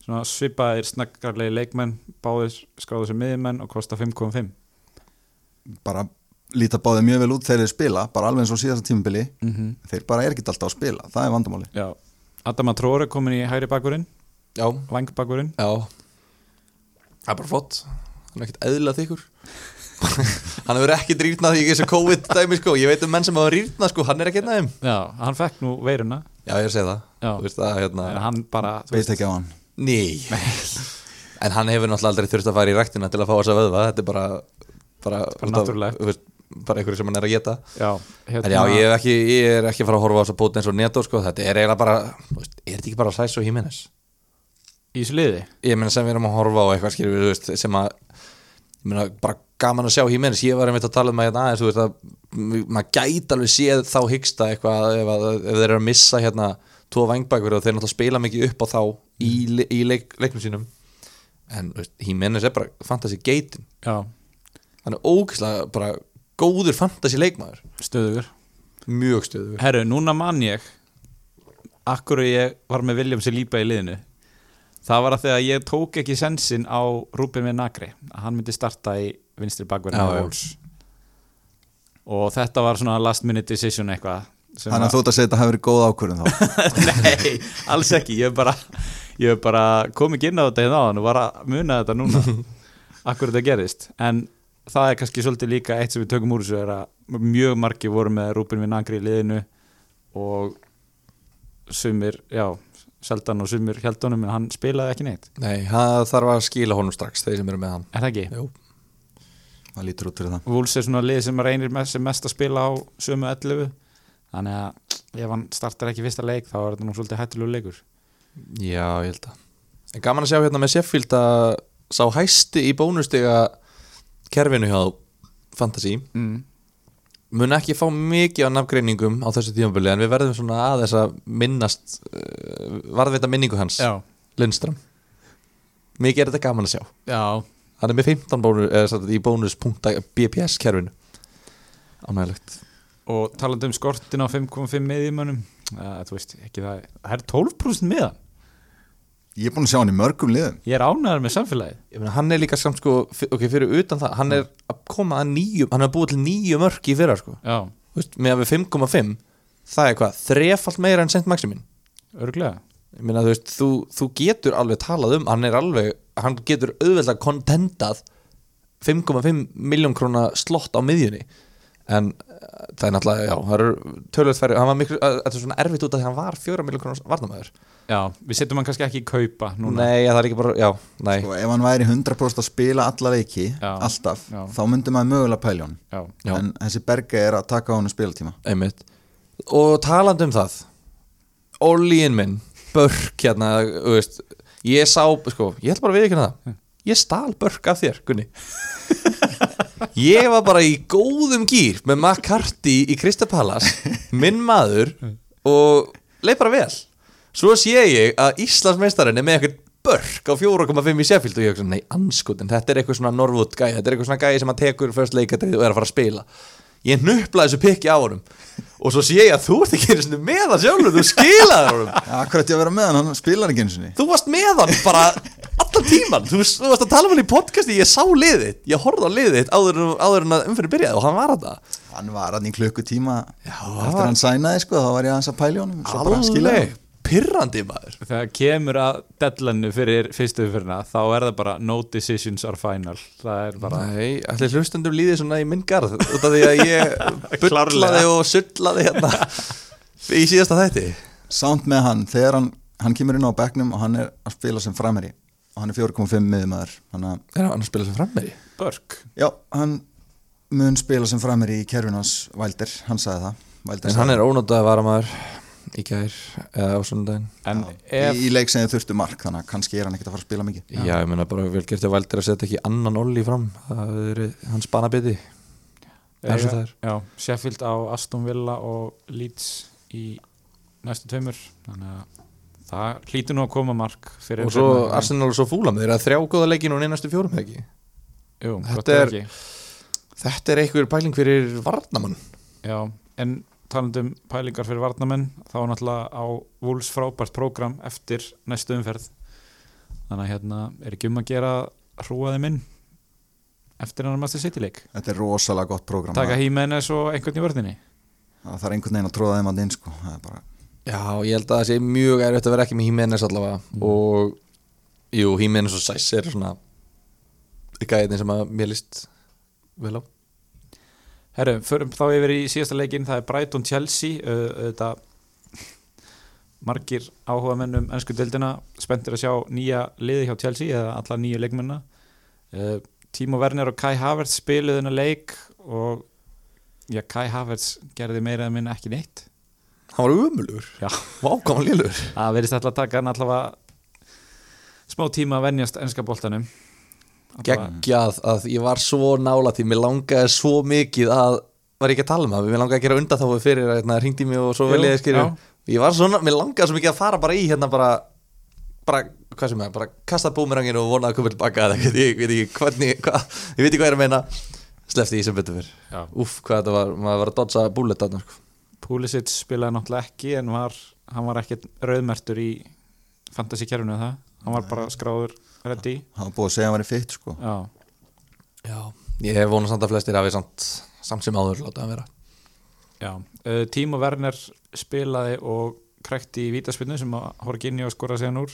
Svona svipaðir snakkarlegi leikmenn báðir skráðu sem miðjumenn og kosta 5,5 Bara líta báðið mjög vel út þegar þeir spila bara alveg eins og síðasta tímubili mm þeir bara er ekki alltaf að spila, það er vandamáli Já, Adama Tróri komin í hægri bakurinn Já, langbakurinn já Það er bara flott Hann er ekkert eðla þykkur Hann hefur ekki rýrnað í þessu COVID-dæmi sko Ég veit um menn sem hafa rýrnað sko, hann er ekki einn af þeim Já, hann fekk nú veiruna Já, ég er að segja það Já. Þú veist það, hérna en hann bara þú Beist ekki á hann Ný En hann hefur náttúrulega aldrei þurft að fara í ræktina til að fá þess að vöðva Þetta er bara bara, Bara út af- náttúrulegt. þú veist, bara einhverju sem hann er að geta Já, hérna, En já, ég er ekki, ég er ekki að fara að horfa á þess að bóta eins og neto sko. Þetta er eiginlega bara, þú veist, er þetta ekki bara sæs og híminnes? í sliði Ég meina sem við erum að horfa á eitthvað skilur við, þú veist, sem að ég meina bara gaman að sjá híminnes Ég var einmitt að tala um að hérna aðeins, þú veist að maður gæti alveg séð þá hyggsta eitthvað ef, að, ef þeir eru að missa hérna tvo vangbækur og þeir náttúrulega spila mikið upp á þá í, le- í leik, leiknum sínum En þú veist, híminnes er bara fantasy geitin Já, Hann er ógeðslega bara góður fantasy leikmaður stöðugur Mjög stöðu Herru, núna man ég Akkur ég var með Williams í lípa í liðinu það var að þegar ég tók ekki sensin á Rúbin við Nagri að hann myndi starta í vinstri bakverðinu Já, já. og þetta var svona last minute decision eitthvað sem Þannig að þú ert að segja að þetta hafi verið góð ákvörðun þá Nei, alls ekki, ég hef bara, ég hef bara kom ekki inn á þetta hérna áðan og var að muna þetta núna akkur þetta gerðist, en það er kannski svolítið líka eitt sem við tökum úr þessu er að mjög margir voru með Rúbin við Nagri í liðinu og sumir, já Seldan og sumir heldunum en hann spilaði ekki neitt Nei, það þarf að skila honum strax þeir sem eru með hann Er það ekki? Jú. Það lítur út fyrir það Wolves er svona lið sem reynir með sem mest að spila á sömu 11 þannig að ef hann startar ekki fyrsta leik þá er þetta nú svolítið hættilegu leikur Já, ég held að En gaman að sjá hérna með Sheffield að sá hæsti í bónustiga kerfinu hjá Fantasí mm. mun ekki fá mikið á nafngreiningum á þessu tímabili en við verðum svona aðeins að minnast uh, varðvita minningu hans Lundström Mikið er þetta gaman að sjá já, Hann er með 15 bónus, eða, satt, í bónus.bps kerfinu Ánægilegt og talandi um skortin á 5,5 miðjumönnum uh, þú veist ekki það það er 12% miðan, Ég er búin að sjá hann í mörgum liðum ég er ánæður með samfélagið Ég meina, hann er líka samt sko, f- ok, fyrir utan það hann er að koma að nýju, hann er að búa til nýju mörk í fyrra sko, já, Þú veist, með að við 5,5 það er hvað, þrefalt meira en sent maximin, örglega ég meina þú veist þú, þú getur alveg talað um, hann er alveg hann getur auðveldlega kontentað 5,5 miljón króna slott á miðjunni en eh, það er náttúrulega, já, það eru tölvöld færri, hann var miklu, eh, þetta er svona erfitt út af því að hann var 4 miljón króna varnamæður já, við setjum hann kannski ekki í kaupa núna nei, það er ekki bara, já, nei Og ef hann væri 100% að spila alla leiki Já. Alltaf, Já. þá myndi maður mögulega pælja hann já, Já. En þessi berga er að taka á hann spilatíma Einmitt. Og talandi um það Ollíin minn Börk hérna, þú veist Ég sá, sko, ég ætla bara að viðkynna það Ég stal Börk af þér, Gunni Ég var bara í góðum gýr Með McCarthy í Krista Palace Minn maður Og leið bara vel Svo sé ég að Íslandsmeistarinn er með eitthvað Börk á 4,5 í Sheffield Og ég hugsa, nei, anskutin, þetta er eitthvað svona Norwood gæði, þetta er eitthvað svona gæði sem að tekur First leikatrið og er að fara að spila Ég nöplaði þessu pikki á honum Og svo sé ég að þú ert ekki einu sinni með hann sjálfur Þú skilaði honum Akkurat ég að vera með hann, hann spilar ekki eins og Þú varst með hann bara allan tíman þú, þú varst að tala um hann í podcasti, ég sá liðið Ég horfði á liðið þitt áður, en- áður en að umfyrir byrjaði og hann var þetta Hann var hann í klukkutíma Eftir var- hann sænaði sko, þá var ég aðeins að pælja honum Svo bara skilja hann Alveg pirrandi maður þegar kemur að dellannu fyrir fyrstu fyrirna þá er það bara no decisions are final það er bara Nei, allir hlustendum líðið svona í minn garð út af því að ég bullaði og sullaði hérna í síðasta þætti samt með hann þegar hann, hann kemur inn á bekknum og hann er að spila sem framherji og hann er 4.5 miðumæður þannig að, Er hann að spila sem frammeri? börk já, hann mun spila sem framherji í kerfinu hans Valdir, hann sagði það Wilder En sagði hann er ónótaði varamaður í gær eða á sunnudaginn en það. ef í, í leik sem þið þurftu mark þannig að kannski er hann ekkert að fara að spila mikið Já, ég meina bara vel gert að Valdir að setja ekki annan Olli fram það hefur verið hans banabiti Það er svo það er. já, Sheffield á Aston Villa og Leeds í næstu tveimur þannig að það hlýtur nú að koma mark fyrir og svo umferðina. Arsenal og svo Fúlam þeir eru að þrjá góða leiki núna í næstu fjórum leiki Jú, Þetta gott ef er- ekki. Þetta er einhver pæling fyrir varnamann Já, en talandum pælingar fyrir varnamenn þá er náttúrulega á Wolves frábært prógram eftir næstu umferð þannig að hérna er ekki um að gera hrúaði minn eftir hann að maður sittileik þetta er rosalega gott prógram taka það, hímenes og einhvern í vörðinni það þarf einhvern veginn að tróða þeim að inn sko. það er bara, Já, ég held að það sé mjög erfitt að vera ekki með Hímenes allavega og jú, Hímenes og Sæs er svona gæðin sem að mér list vel á Herru, förum þá yfir í síðasta leikinn það er Brighton Chelsea uh, þetta margir áhuga mennum ennsku deildina spenntir að sjá nýja liði hjá Chelsea eða alla nýju leikmenna uh, Timo Werner og Kai Havertz spiluðu þennan leik og já, Kai Havertz gerði meira en minn ekki neitt Hann var umulur, Já. vákvæm lélur það verðist alltaf að taka hann allavega smá tíma að venjast ennska boltanum Allavega- Geggjað að ég var svo nála því mér langaði svo mikið að var ég ekki að tala um það, mér langaði að gera undan þá fyrir að hérna, hringdi mig og svo Jú, vel ég skilur já. ég var svona, mér langaði svo mikið að fara bara í hérna bara, bara hvað sem er, bara kasta búmeranginu og vonaði að koma tilbaka eða eitthvað, ég veit ekki hvernig hva, ég veit ekki hvað ég er að meina, slefti því sem betur fyrr Já. úff, hvað þetta var, maður var að dodsa búlet þarna, sko. Pulisic spilaði náttúrulega ekki en var, hann var ekkert rauðmertur í fantasy kerfinu það hann var bara skráður ready hann var búið að segja að hann væri fitt sko já, Já, ég hef vonað samt að flestir hafi samt, samt sem áður láta hann vera já. Uh, Tímo Werner spilaði og krækti í vítaspinnu sem að Horginjó skora séðan úr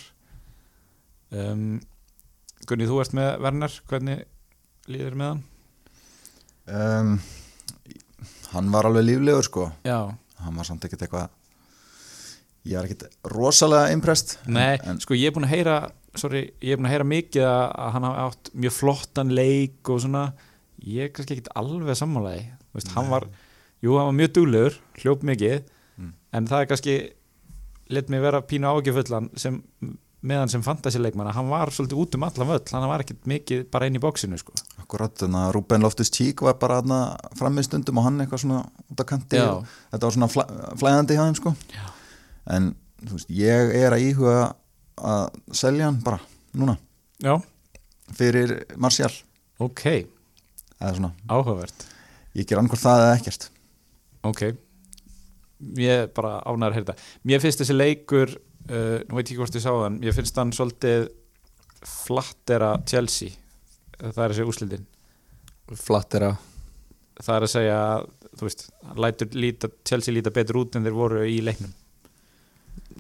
um, Gunni, þú ert með Werner hvernig líður með hann? um, hann var alveg líflegur sko Já, hann var samt ekkert eitthvað ég er ekkert rosalega impressed nei, en, sko ég er búin að heyra sorry, ég er búin að heyra mikið að að hann hafi átt mjög flottan leik og svona, ég er kannski ekkit alveg sammálaði, þú veist, hann var jú, hann var mjög dúlegur, hljóp mikið Mm. en það er kannski let mig vera pínu ágjöfullan sem, meðan sem fantasileikmann að hann var svolítið út um allan völl, hann var ekkit mikið bara inn í bóksinu, sko en akkurat, þannig að Ruben Loftus Tík var bara þarna frammi stundum og hann eitthvað svona út af kanti Já. og þetta var svona flæ, flæðandi hjá þeim sko Já. en þú veist, ég er að íhuga að selja hann bara núna Já, fyrir Marcial ok, eða svona, áhugavert ég ger annað það eða ekkert Ok Ég er bara ánæður að heyra þetta Mér finnst þessi leikur uh, Nú veit ég ekki hvort ég sá þann Mér finnst hann svolítið flattera Chelsea Það er að segja úslildin Flatt er að Það er að segja, þú veist hann lætur líta, Chelsea líta betur út en þeir voru í leiknum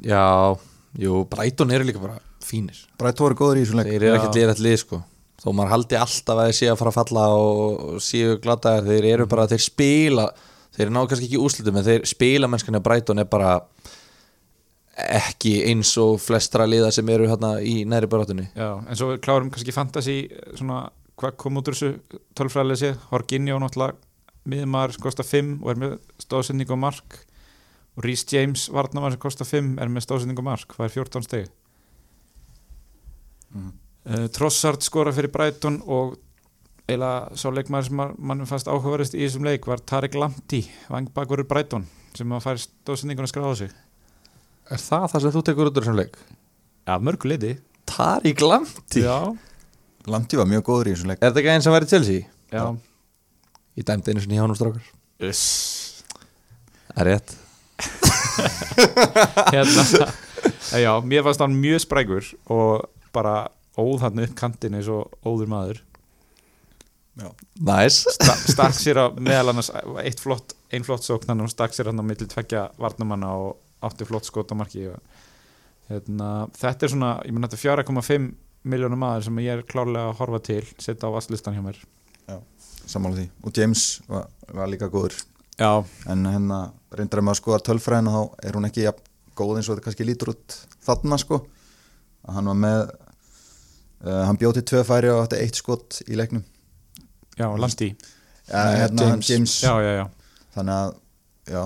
Já, jú, Brighton eru líka bara fínir Brætt voru góður í þessum leik Þeir eru Já. ekkert liðrætt lið sko Þó maður haldi alltaf að þeir séu að fara að falla og og séu glataðar, þeir eru bara þeir spila, þeir ná kannski ekki úslitum en þeir spila mennskunni að Brighton er bara ekki eins og flestra liða sem eru hérna í næri barátunni Já, en svo við klárum kannski fantasy eh, svona, hvað kom út úr þessu tölfræðlega séð, Horginjó náttúrulega miðmaður sem kostar 5 og er með stóðsending og mark og Rhys James varnamaður sem kostar 5 er með stóðsending og mark, hvað er 14 steg uh, Trossard skora fyrir Brighton og eiginlega sá leikmaður sem að mannum fannst áhugaverðist í þessum leik var Tarek Lamti, vangbakverur Brighton sem að fær stóðsendingun að skráða sig Er það það sem þú tekur út úr þessum leik? Já, mörgu liði Tari Glamti? Já, Landi var mjög góður í þessum leik Er þetta ekki eins að væri Chelsea? já. Ég dæmdi einu sinni hjá hann um strákar Það er rétt hérna, já, mér fannst hann mjög sprækur og bara óð hann upp kantinn eins og óður maður Næs nice. Sta- stakk sér á meðal annars eitt flott, ein flott sókn hann og stakk sér hann á milli tveggja varnamanna og átti flott skot á marki og, hérna, þetta er svona, ég mun þetta er 4,5 miljónum maður sem ég er klárlega að horfa til setja á vasslistan hjá mér sammála því og James var, var líka góður já, en hérna reyndar að maður skoðar tölfræðin og þá er hún ekki jafn góð eins og þetta kannski lítur út þarna sko að hann var með uh, hann bjóti tvö færi og átti eitt skot í leiknum já, landi ja, hérna, James. James. James já, já, já, þannig að já,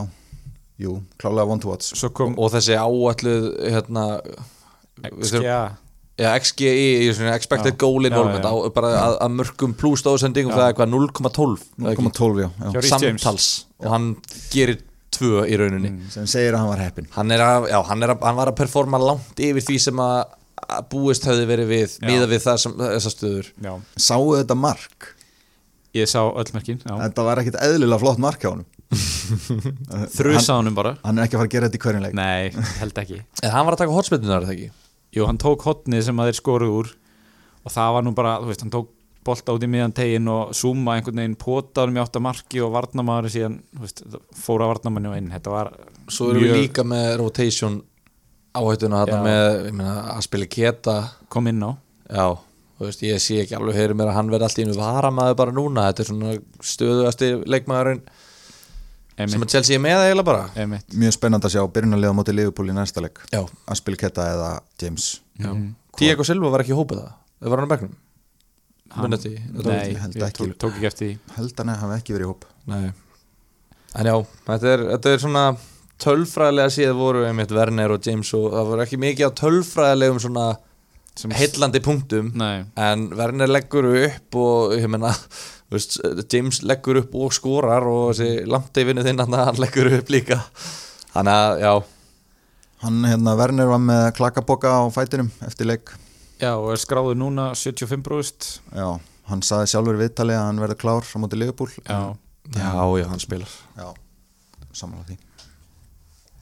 jú, klálega one to watch svo kom Og þessi áalluð hérna, við þurfum- XGA Já, XGI, í svona expected Já. goal involvement Já, já. á- bara að, að mörgum pluss stóðsendingum Já. það er eitthvað 0,12 eða ekki? 0,12 Hjá já, já. Rhys James. Mm. samtals og hann gerir tvö í rauninni sem segir að hann var heppin hann, er að, já, hann, er að, hann var að performa langt yfir því sem að að búist höfði verið við Já. miða við það sem þessar stöður já, sáu þetta mark ég sá öll mörkin já. þetta var ekkit eðlilega flott mark hjá honum þrjusa honum bara hann er ekki að fara að gera þetta í hverjum leik nei, held ekki en hann var að taka hotspillunar er það ekki Jú, hann tók hotnið sem að þeir skoruð úr og það var nú bara, þú veist, hann tók bolta út í miðan tegin og zooma einhvern veginn potaðum í áttamarki og varnamaður síðan, þú veist, fóra varnamanni og inn þetta var svo erum við mjög- líka með rotation áhættuna Já. þarna með ég meina, að spila keta kom inn á já Þú veist, ég sé ekki alveg heyri mér að hann verði alltaf innu varamaður bara núna, þetta er svona stöðuðasti leikmaðurinn sem emitt, að Chelsea er með eiginlega bara emitt. mjög spennandi að sjá byrjunarlega á móti Liverpool í næsta leik Já, Mhm. Aspil Keta eða James já. Diego Silva var ekki í hópið það Það var hann á bekknum Minnati, þetta var nei, ég held ég ekki. tók, tók ekki eftir því held hann að hafa ekki verið í hóp Nei En já, þetta er, þetta er svona tölfræðilega síðan voru einmitt Werner og James og það voru ekki mikið á tölfræðilegum svona Sem- heillandi punktum nei, en Werner leggur upp og ég meina þú veist, James leggur upp og skorar og þessi langteifinu þinn þarna, hann leggur upp líka þannig að já, Hann hérna Werner var með klakaboka á fætinum eftir leik já, og er skráður núna 75 brúst Já, hann saði sjálfur í viðtali að hann verði klár á móti Liverpool já, já, já, hann spilar Já, samanlega því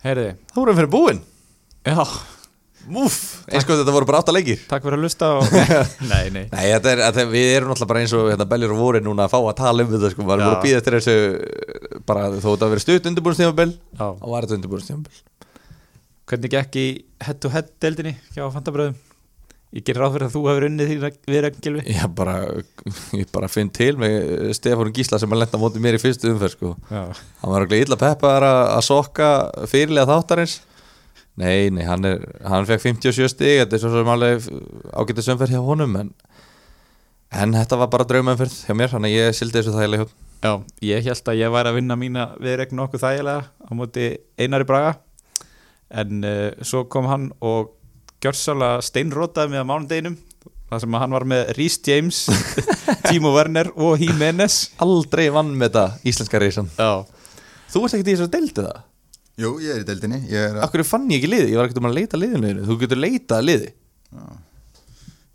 heyriði Það voru fyrir búinn já, Múf, eins og þetta voru bara átta leikir Takk fyrir að lusta og... Nei, nei Nei, þetta er, þetta, við erum náttúrulega bara eins og hérna, Bellir og voru núna að fá að tala um þetta sko, maður Já. er búin að býða eftir þessu eh, bara þó þetta að vera stutt undirbúinstjámabil Já. og var þetta undirbúinstjámabil Hvernig gekk í head-to-head deildinni hjá Fantabröðum? Ég gerir ráð fyrir að þú hefur unnið þín viðrækn gilvi Ég bara, ég bara finn til með eh, Stefán Gísla sem að lenda móti mér í fyrstu umferð sko. Já, Hann var örugglega illa peppaðar að, að sokka fyrirlega þáttarins Nei, nei, hann, er, hann fekk 57 stig Þetta er svo sem alveg ágætið sömferð hjá honum en, en þetta var bara draumumferð hjá mér Þannig að ég sildi þessu þægilega hjá Já, ég held að ég væri að vinna mína viðreikn nokkuð þægilega á móti Einari Braga en uh, svo kom hann og gjörsála steinrótaði með á mánudeginum þar sem að hann var með Rhys James Timo Werner og Jimenez Aldrei vann með þetta íslenska reysan Já, Þú ert ekkert í þessu að deildi það Jú, ég er í deildinni Ég, er, Akkur fann ég ekki liði, ég var ekkert um að leita liðinu þínu. Þú getur leitað liði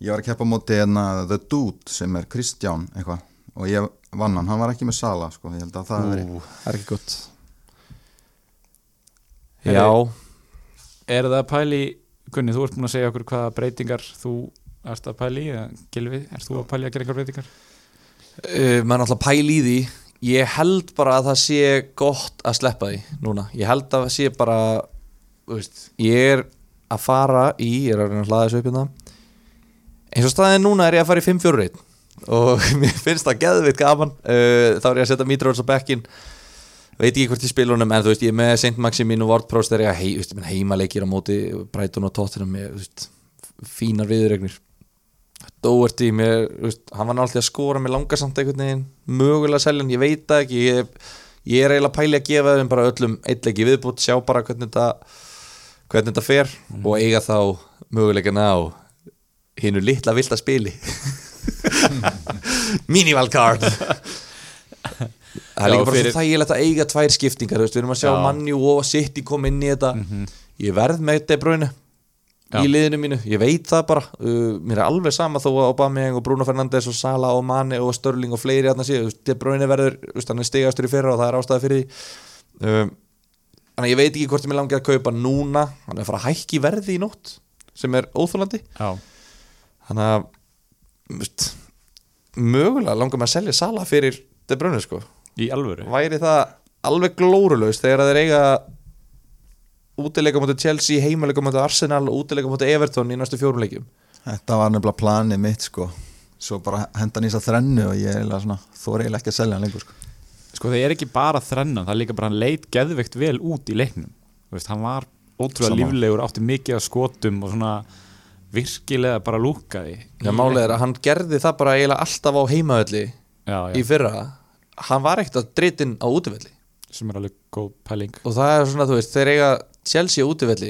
ég var að keppa á móti hérna The Dude sem er Kristján eitthvað og ég vann hann, hann var ekki með Sala sko, ég held að það veri Ú, Það er ekki gott Herri. Já, er það að pæli Gunni, þú ert múin að segja okkur hvaða breytingar þú ert að pæli, eða Gilvi, ert þú að pæli að gera einhver breytingar? uh, maður er alltaf pæl í því Ég held bara að það sé gott að sleppa því núna Ég held að það sé bara þú veist, Ég er að fara í, ég er að reyna að hlaða þessu upp hérna Eins og staðið núna er ég að fara í 5-4-1 Og mér finnst það geðveitt gaman uh, Þá er ég að setja Mitrovic á bekkin veit ekki hvort ég spila honum en þú veist ég er með Saint Maximin og Ward-Prowse þegar ég hei, veist, menn heimaleikir á móti Brighton og Tottenham með þú veist, fínar viðregnir Doherty, mér, þú veist, hann var náttúrulega að skora með langar samt einhvern veginn mögulega selja hann, ég veit það ekki ég, ég er eiginlega pæli að gefa þeim bara öllum eitleiki viðbútt, sjá bara hvernig þetta hvernig þetta fer Mhm. og eiga þá möguleikana á hinnu litla vilda spili minivalkard það er Já, líka bara fyrir- svo þægilegt að eiga tvær skiptingar, þú veist, við erum að sjá Já. Mhm. mannjú og City koma inn í þetta ég verð með De Bruyne Já. í liðinu mínu, ég veit það bara uh, mér er alveg sama þó að Aubameyang og Bruno Fernandes og Sala og Mane og Störling og fleiri þarna síðan, þú veist, De Bruyne verður þú veist, hann er stigastur í fyrra og það er ástæða fyrir því um, þannig að ég veit ekki hvort ég mér langi að kaupa núna hann er að fara að hækki verði í nótt sem er óþólandi Já, þannig að þú veist, mögulega langar mér að selja Sala fyrir De Bruyne sko í alvöru væri það alveg glórulaust þegar þeir eiga útileika mútið Chelsea, heimileika mútið Arsenal og útileika mútið Everton í næstu fjórum leikjum Mm. Þetta var nefnilega planið mitt sko svo bara henda hann í þess að þrennu og ég er eiginlega svona, þóri eiginlega ekki að selja hann lengur sko. Sko það er ekki bara þrennan, það er líka bara hann leit geðveikt vel út í leiknum Þú veist, hann var ótrúlega Sammála. líflegur, átti mikið að skotum og svona virkilega bara lúkaði Já, málið er að hann gerði það bara eiginlega alltaf á heimavelli já, í já, fyrra hann var ekkert að dritin á útivelli sem er alveg góð pæling og það er svona, þú veist, þeir eiga Chelsea á útivelli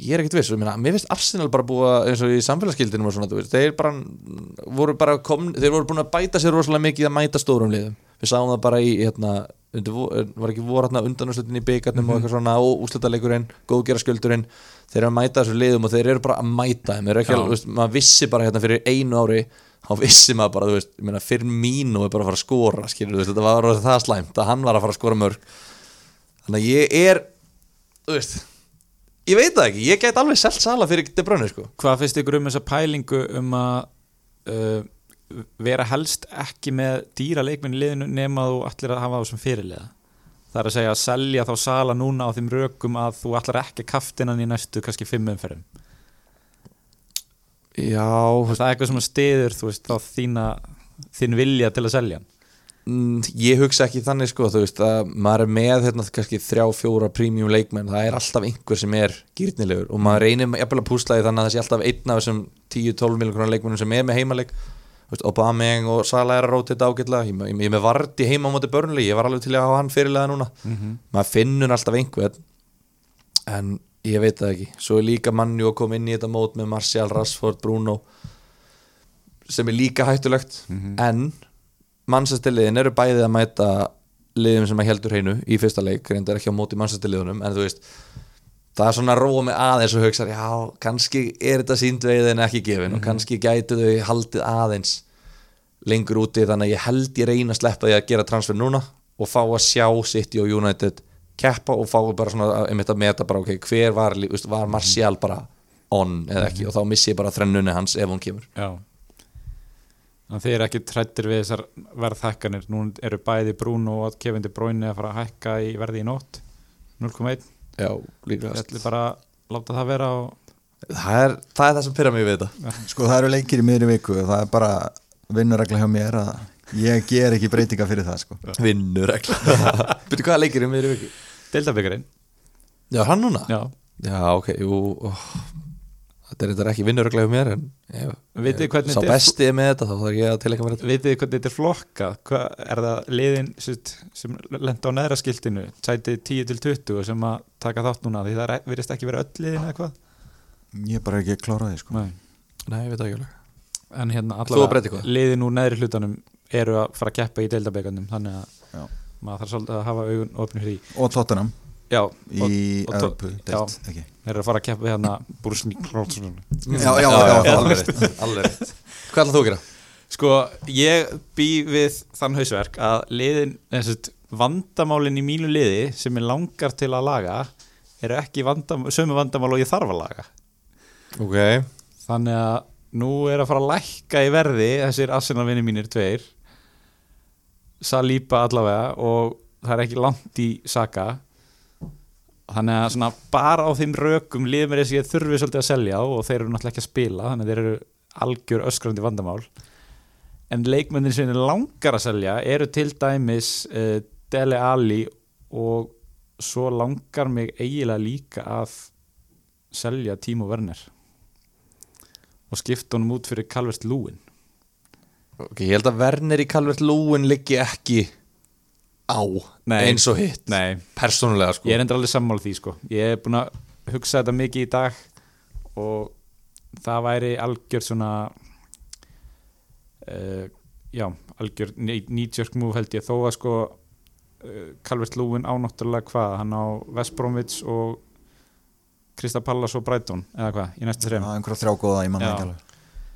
ég er ekkert viss, ég meina, mér finnst Arsenal bara búa eins og í samfélagsgildinum og svona, þú veist, þeir bara voru bara komn, þeir voru búin að bæta sér rosalega mikið að mæta stórum liðum við sáum það bara í, hérna undir, vo- var ekki voru hérna undanúrslutin í byggarnum og eitthvað svona, og úrslutaleikurinn, góðgeraskjöldurinn þeir eru að mæta þessum liðum og þeir eru bara að mæta þeim, þeir eru ekki Já. alveg, þú veist, maður vissi bara hérna fyrir einu ári þá vissi maður bara, þú veist, ég meina, fyrir mínu er bara að fara að skora, skilur, þú veist, þetta var orðið það slæmt að hann var að fara að skora mörg Þannig að ég er Þú veist Ég veit það ekki, ég gæti alveg selt sala fyrir De Bruyne sko Hvað finnst ykkur um þessa pælingu um að uh, vera helst ekki með dýra leikminn í liðinu nema þú ætlir að hafa þá sem fyrirliða Það er að segja að selja þá sala núna á þeim rökum að þú ætlar ekki að kaftinan í næstu kannski fimm umferðum Já Og það er eitthvað sem stiður, þú veist, þá þína, þín vilja til að selja hann Mm, Ég hugsa ekki þannig sko, þú veist að maður er með hérna kannski þrjá, fjóra premium leikmenn, það er alltaf einhver sem er gýrnilegur og maður reynir jafnvel að púsla því þannig að það sé alltaf einn af þessum 10-12 miljonar leikmennum sem er með heimaleik Þú veist, Aubameyang og Sala er að róta þetta ágætlega ég, ég, ég er með Vardy heima á móti börnli ég var alveg til að hafa hann fyrirlega núna maður finnur alltaf einhvern en ég veit það ekki svo er líka manni og kom inn í þetta mót með Martial, Rashford, Bruno sem er líka hættulegt en mannsæstiliðin eru bæðið að mæta liðum sem að heldur hreinu í fyrsta leik reyndar ekki á móti mannsæstiliðunum en þú veist, það er svona róa mig aðeins og hugsa, já, kannski er þetta síndveið en ekki gefin og kannski gætu þau haldið aðeins lengur úti þannig að ég held ég reyna að sleppa því að gera transfer núna og fá að sjá City og United keppa og fá bara svona einmitt að meta bara ok, hver var, lí- þú veist, var Martial bara on eða ekki og þá missi ég bara þrennunni hans ef hún kemur Já Þannig að þið eru ekki trættir við þessar verðhækkanir Nú eru bæði Bruno og Kevin De Bruyne að fara að hækka í verði í nótt 0,1 Já, Ég líka ætli bara að láta það vera og það er, það er það sem pyrra mig við þetta Sko það eru leikir í miðri viku og það er bara vinnuregla hjá mér að ég ger ekki breytinga fyrir það sko. Vinnur ekki Byrju hvaða leikir er meðri viku? deildabyggarinn Já, hann núna? Já, Já, ok, jú ó, Þetta er þetta ekki vinnur ekki hjá mér en ég, Vitið ég- hvernig Sá þetta er- besti er með þetta þá þarf ég að tilhengja mér þetta vitið þið hvernig þetta er flokka Hva, Er það liðin sitt, sem lenda á neðra skiltinu Sætið 10 til 20 sem að taka þátt núna Því það er- virðist ekki vera öll liðin eða hvað Ég er bara ekki að klára því sko. Nei. Nei, ég veit það ekki alveg En hérna Þú að breyta allavega eitthvað? liðin úr neðri hlutanum eru að fara að keppa í deildabyggarnum Þannig að Já. maður þarf svolítið að hafa augun opnir því Og Tottenham Já, í og- og Tot- Europu Já. deild, ekki. Þeir eru að fara að keppa við hérna Brúsni Králsson Já, já, já, já, alveg rétt Alveg rétt Hvað ætlað þú að gera? Sko, ég bý við þann hausverk að liðin, þessast, vandamálin í mínu liði sem ég langar til að laga eru ekki vandam, sömu vandamál og ég þarf að laga Ok Þannig að nú er að fara að lækka í verði þessir assinalvinni mínir tveir Salíba allavega og það er ekki langt í Saka Þannig að svona bara á þeim rökum liðum er þess að ég þurfi svolítið að selja og þeir eru náttúrulega ekki að spila þannig að þeir eru algjör öskrandi vandamál en leikmennir sem er langar að selja eru til dæmis uh, Dele Alli og svo langar mig eiginlega líka að selja Tímo Werner og skipta honum út fyrir Calvert Lúin Ok, ég held að Werner í Calvert Lúin liggi ekki á Nei. eins og hitt Nei, persónulega sko ég er endur alveg sammála því sko. ég er búin að hugsa þetta mikið í dag og það væri algjör svona uh, já, algjör nýtjörk move held ég þó að sko uh, Calvert Lúin ánáttúrulega hvað hann á Vestbromvits og Krista Pallas og Brighton eða hvað, í næstu Já, þrejum einhverja þrjá góða í manna Já. ekki alveg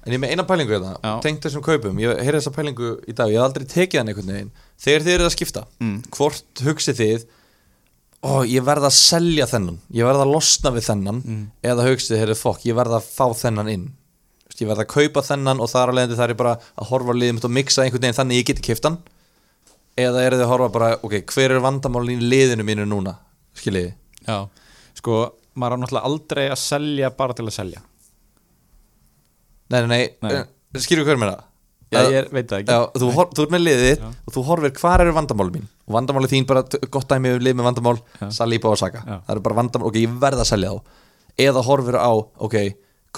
En ég er með eina pælingu þetta, Já. tengt þessum kaupum Ég heyrði þessa pælingu í dag, ég hef aldrei tekið hann einhvern veginn Þegar þið eru að skipta, Mm. hvort hugsið þið Ó, ég verð að selja þennan Ég verð að losna við þennan Mm. Eða hugsið, heyrðu fokk, ég verð að fá þennan inn Þú veist, Ég verð að kaupa þennan og þar alveg Það er ég bara að horfa á liðið mitt og mixa einhvern veginn Þannig ég geti kiptan Eða eru þið að horfa bara, ok, hver er vandamálin í liðinu mínu núna, skiljiði Já, sko, maður á náttúrulega aldrei að selja bara til að selja Nei, nei, eh, nei, Nei. nei. skýrðu hver meina Já, ég er- veit það ekki. já, þú, hor, þú ert með liðið þitt og þú horfir hvar eru vandamáli mín og vandamáli þín bara t- gott dæmi um lið með vandamál Saliba og Saka Já. það eru bara vandamál, ok, ég verð að selja þá eða horfir á, ok,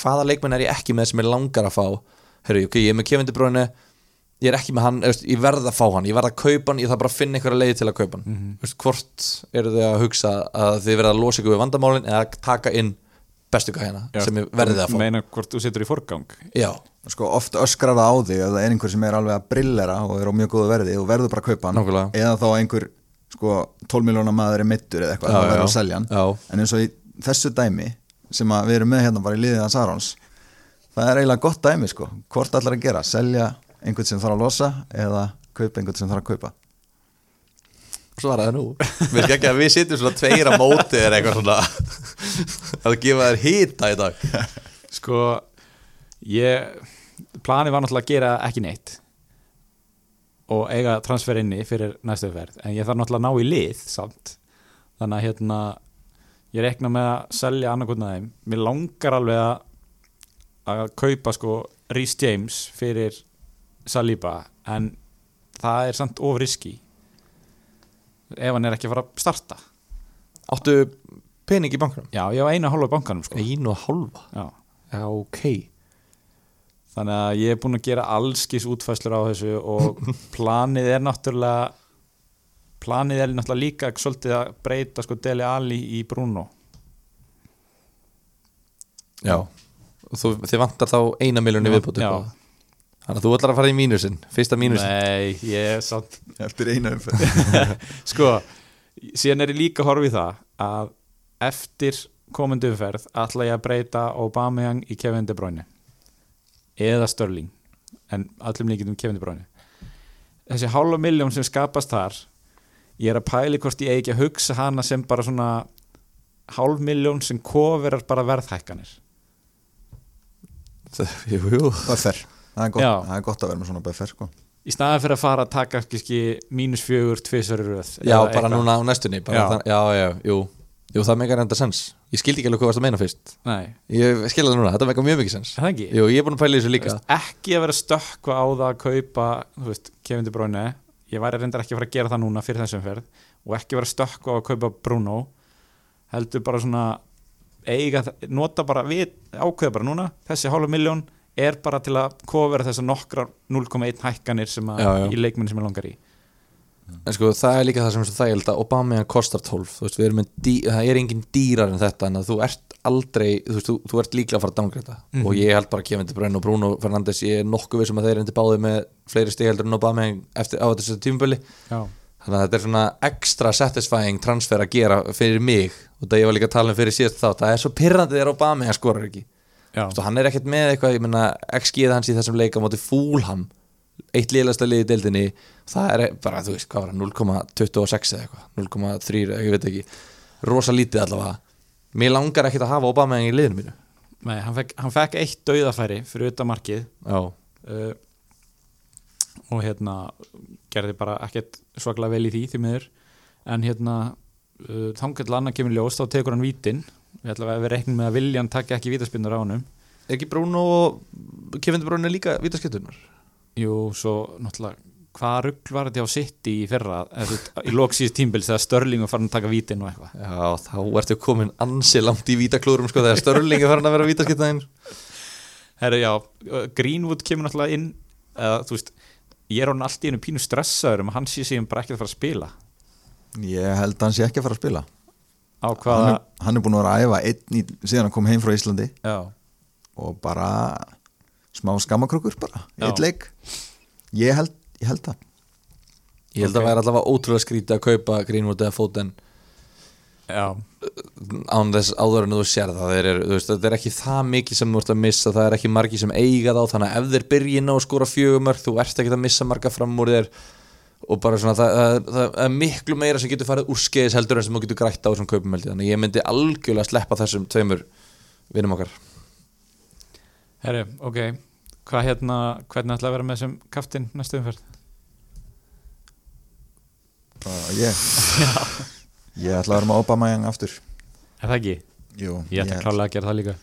hvaða leikmenn er ég ekki með sem ég langar að fá Hörru, ok, ég er með Kevin De Bruyne ég er ekki með hann, eða, ég verð að fá hann ég verð að kaupa hann, ég þarf bara að finna einhverja leið til að kaupa hann mm Mhm. hvort eru þið að hugsa að þið verða að losa ykkur við vandamálin eða taka inn bestu gæðina sem ég verðið að fá Meina hvort þú setur í forgang Já, Sko oft öskrar það á þig ef það er einhver sem er alveg að brillera og er á mjög góðu verði og verður bara að kaupa hann Nákvæmlega. eða þá einhver sko 12 miljónar maður er mittur eða eitthvað Já, það verður að já. selja hann Já. en eins og í þessu dæmi sem að við erum með hérna bara í liðið hans Arons það er eiginlega gott dæmi sko hvort allar að gera, selja einhvern sem þarf að losa eða kaupa einhvern sem þarf að kaupa svaraði nú Mér skil ekki að við sitjum svona tveir að móti eða eitthvað svona að gefa þér hýta í dag Sko, ég planið var náttúrulega að gera ekki neitt og eiga transfer inni fyrir næstu verð en ég þarf náttúrulega að ná í lið samt þannig að hérna ég rekna með að selja annarkotna þeim mér langar alveg að að kaupa sko Rhys James fyrir Saliba en það er samt of riski ef hann er ekki að fara að starta Áttu pening í bankanum? já, ég á eina hálfa í bankanum sko Einu og halva já Já, ok Þannig að ég er búinn að gera allskis útfæslur á þessu og planið er náttúrulega planið er náttúrulega líka svolítið að breyta sko Deli Ali í Bruno Já, Og þú, þið vantar þá eina miljoni viðbúti Já. Þannig að þú ætlar að fara í mínusinn, fyrsta mínusinn Nei, ég er samt Eftir eina umferð Sko, síðan er ég líka að horfa í það að eftir komundu umferð ætla ég að breyta Aubameyang í Kevin De Bruyne eða Störling en allum líkindum Kevin De Bruyne þessi hálfa miljón sem skapast þar ég er að pæli hvort ég eigi ekki að hugsa hana sem bara svona hálf miljón sem kofirar bara verðhækkanir Það- Jú, jú Buffer, það er gott, Já. það er gott að vera með svona buffer sko. í staðan fyrir að fara að taka kannski mínus fjögur, tvisar í röð Já, eða bara eitthvað. núna á næstunni bara Já. já. Það, já, já, jú Jú, það meikar enda sens Ég skildi ekki alveg hvað varst að meina fyrst Nei, Ég skilja það núna, þetta meikar mjög mikið sens er það ekki Jú, ég er búin að pæla í þessu líka Veist, ekki að vera stökkva á það að kaupa þú veist, Kevin De Bruyne ég væri reyndar ekki að fara að gera það núna fyrir þessum ferð og ekki vera stökkva á að kaupa Bruno heldur bara svona eiga, þ- nota bara við ákveða bara núna, þessi hálfu miljón er bara til að kofera þessar nokkrar 0,1 hækkanir sem að, Já, já. í leikminn sem ég langar í En sko, það er líka það sem er svo þægild að Obama kostar 12, þú veist, við erum með dý, það er engin dýrar en þetta, en að þú ert aldrei, þú veist, þú, þú ert líklega að fara að dangreita og ég held bara að Kevin De Bruyne og Bruno Fernandes, ég er nokkuð vissum að þeir endi báði með fleiri stigheldur en Obama eftir, á þessu tímuböli, já, þannig að þetta er svona extra satisfying transfer að gera fyrir mig og það ég var líka að tala um fyrir síðast þá, það er svo pyrrandi þegar Obama skorar ekki já, Svo hann er ekkert með eitthvað, ég meina XG-ið hans í þessum leik á móti Fúlham eitt liðlasta liði í deildinni það er bara, þú veist, hvað var það, 0,26 eða eitthvað, 0,3, eða ég veit ekki rosa lítið allavega mér langar ekkert að hafa Obama í liðinu mínu Nei, hann, fekk, hann fekk eitt dauðafæri fyrir utan markið Já, uh, og hérna gerði bara ekkert svaklega vel í því því miður en hérna uh, þangar til annar kemur í ljós þá tekur hann vítin við ætlum að við reiknum með að viljan takja ekki vítaspinnur á hann er ekki Bruno og Kevin De Bruyne líka vítaskettunar? jú, svo náttúrulega hvað rugg var þetta á sitt í fyrra eða, þú veist, í loksíðs tímbils þegar Störling var farin að taka vítin og eitthvað Já, þá ertu komin ansi langt í vítaklúrum sko þegar Störlingi farin að vera vítaskettunar Herra, já, uh, Greenwood kemur náttúrulega inn eða þú veist ég er hann allt í einu pínu stressaður um að hann sé síðan bara ekki að fara að spila ég held að hann sé ekki að fara að spila á hann hvaða er, hann er búin að vera að æfa einn í, síðan hann kom heim frá Íslandi já, og bara smá skammakrókur bara, Já. eitt leik ég held, ég held það Ég held að Ok. væri allavega ótrúlega skrítið að kaupa Greenwood eða Foden já. án þess áður en þú sér það þeir eru, þú veist, þetta er ekki það mikið sem þú ert að missa það er ekki margi sem eiga þá þannig að ef þeir byrja inn á að skora fjögumörk þú ert ekki að missa marga fram úr þér og bara svona, það, það, það, það er miklu meira sem getur farið úrskeiðis heldur en sem þú getur grætt á þessum kaupumöldi, þannig að ég myndi algjörlega sleppa þessum tveimur vinum okkar Herri, ok Hvað hérna, hvernig ætla að vera með sem kaftin næstu umferð? bara ég ég ætla að vera með Obama Young aftur Er það ekki? Jú, Ég ætla klálega að gera það líka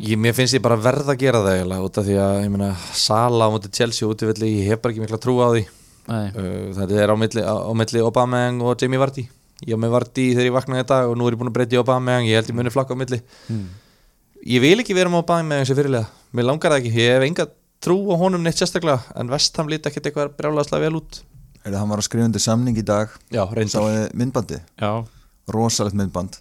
ég, Mér finnst ég bara verð að gera það eiginlega út af því að, ég meina, Sala á móti Chelsea út í velli, ég hef bara ekki mikla trú á því Nei, Uh, Þetta er á milli, á, á milli Obameyang og Jamie Vardy Ég á með Vardy þegar ég vaknaði í dag og nú er ég búin að breyta í Obameyang Ég held ég muni flakka á milli hmm. Ég vil ekki vera með Obameyang sem fyrirlega Mér langar það ekki, ég hef enga trú á honum neitt sérstaklega En Vestham líti ekkert eitthvað brjálaðslega vel út Heyrðu, hann var að skrifa undir samning í dag Já, reyndar sáði myndbandi, já, rosalegt myndband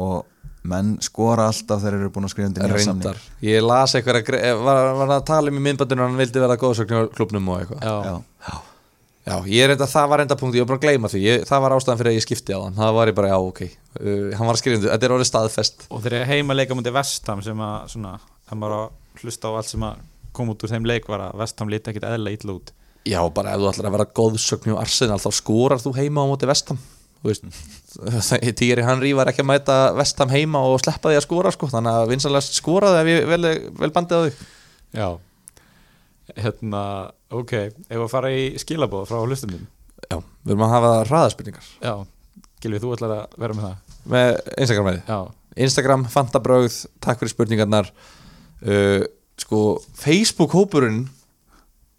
og menn skora alltaf þegar þeir eru búin að skrifa undir nýja samning Reyndar Ég las eitthvað, eh, var, var að tala um í myndbandinu Hann vildi vera góðsögn í klubnum og eitthvað já, Já. Já, ég er reynda, það var reynda punkt, ég var bara að gleyma því ég, Það var ástæðan fyrir að ég skipti á hann Það var ég bara, já, ok uh, Hann var að skrifa, þetta er orðið staðfest Og þeir eru heima að leika mútið Vestam sem að svona, það maður á að hlusta á allt sem að kom út úr þeim leik var að Vestam liti ekkit eðla ítla út Já, bara ef þú ætlar að vera góðsögn hjá Arsenal þá skorar þú heima á móti vestam Týri hann rífar ekki að mæta vestam heima og sleppa því að skora sko. þannig að vinsanlega skoraði ef ég vel, vel bandið á þig Já Hérna, ok, ef að fara í skilabóð frá hlustundum Já, við erum að hafa hraðaspurningar Já, Gilvi, þú ætlar að vera með það með Instagram með Já, Instagram, Fantabraugð, takk fyrir spurningarnar uh, Sko, Facebook-hópurinn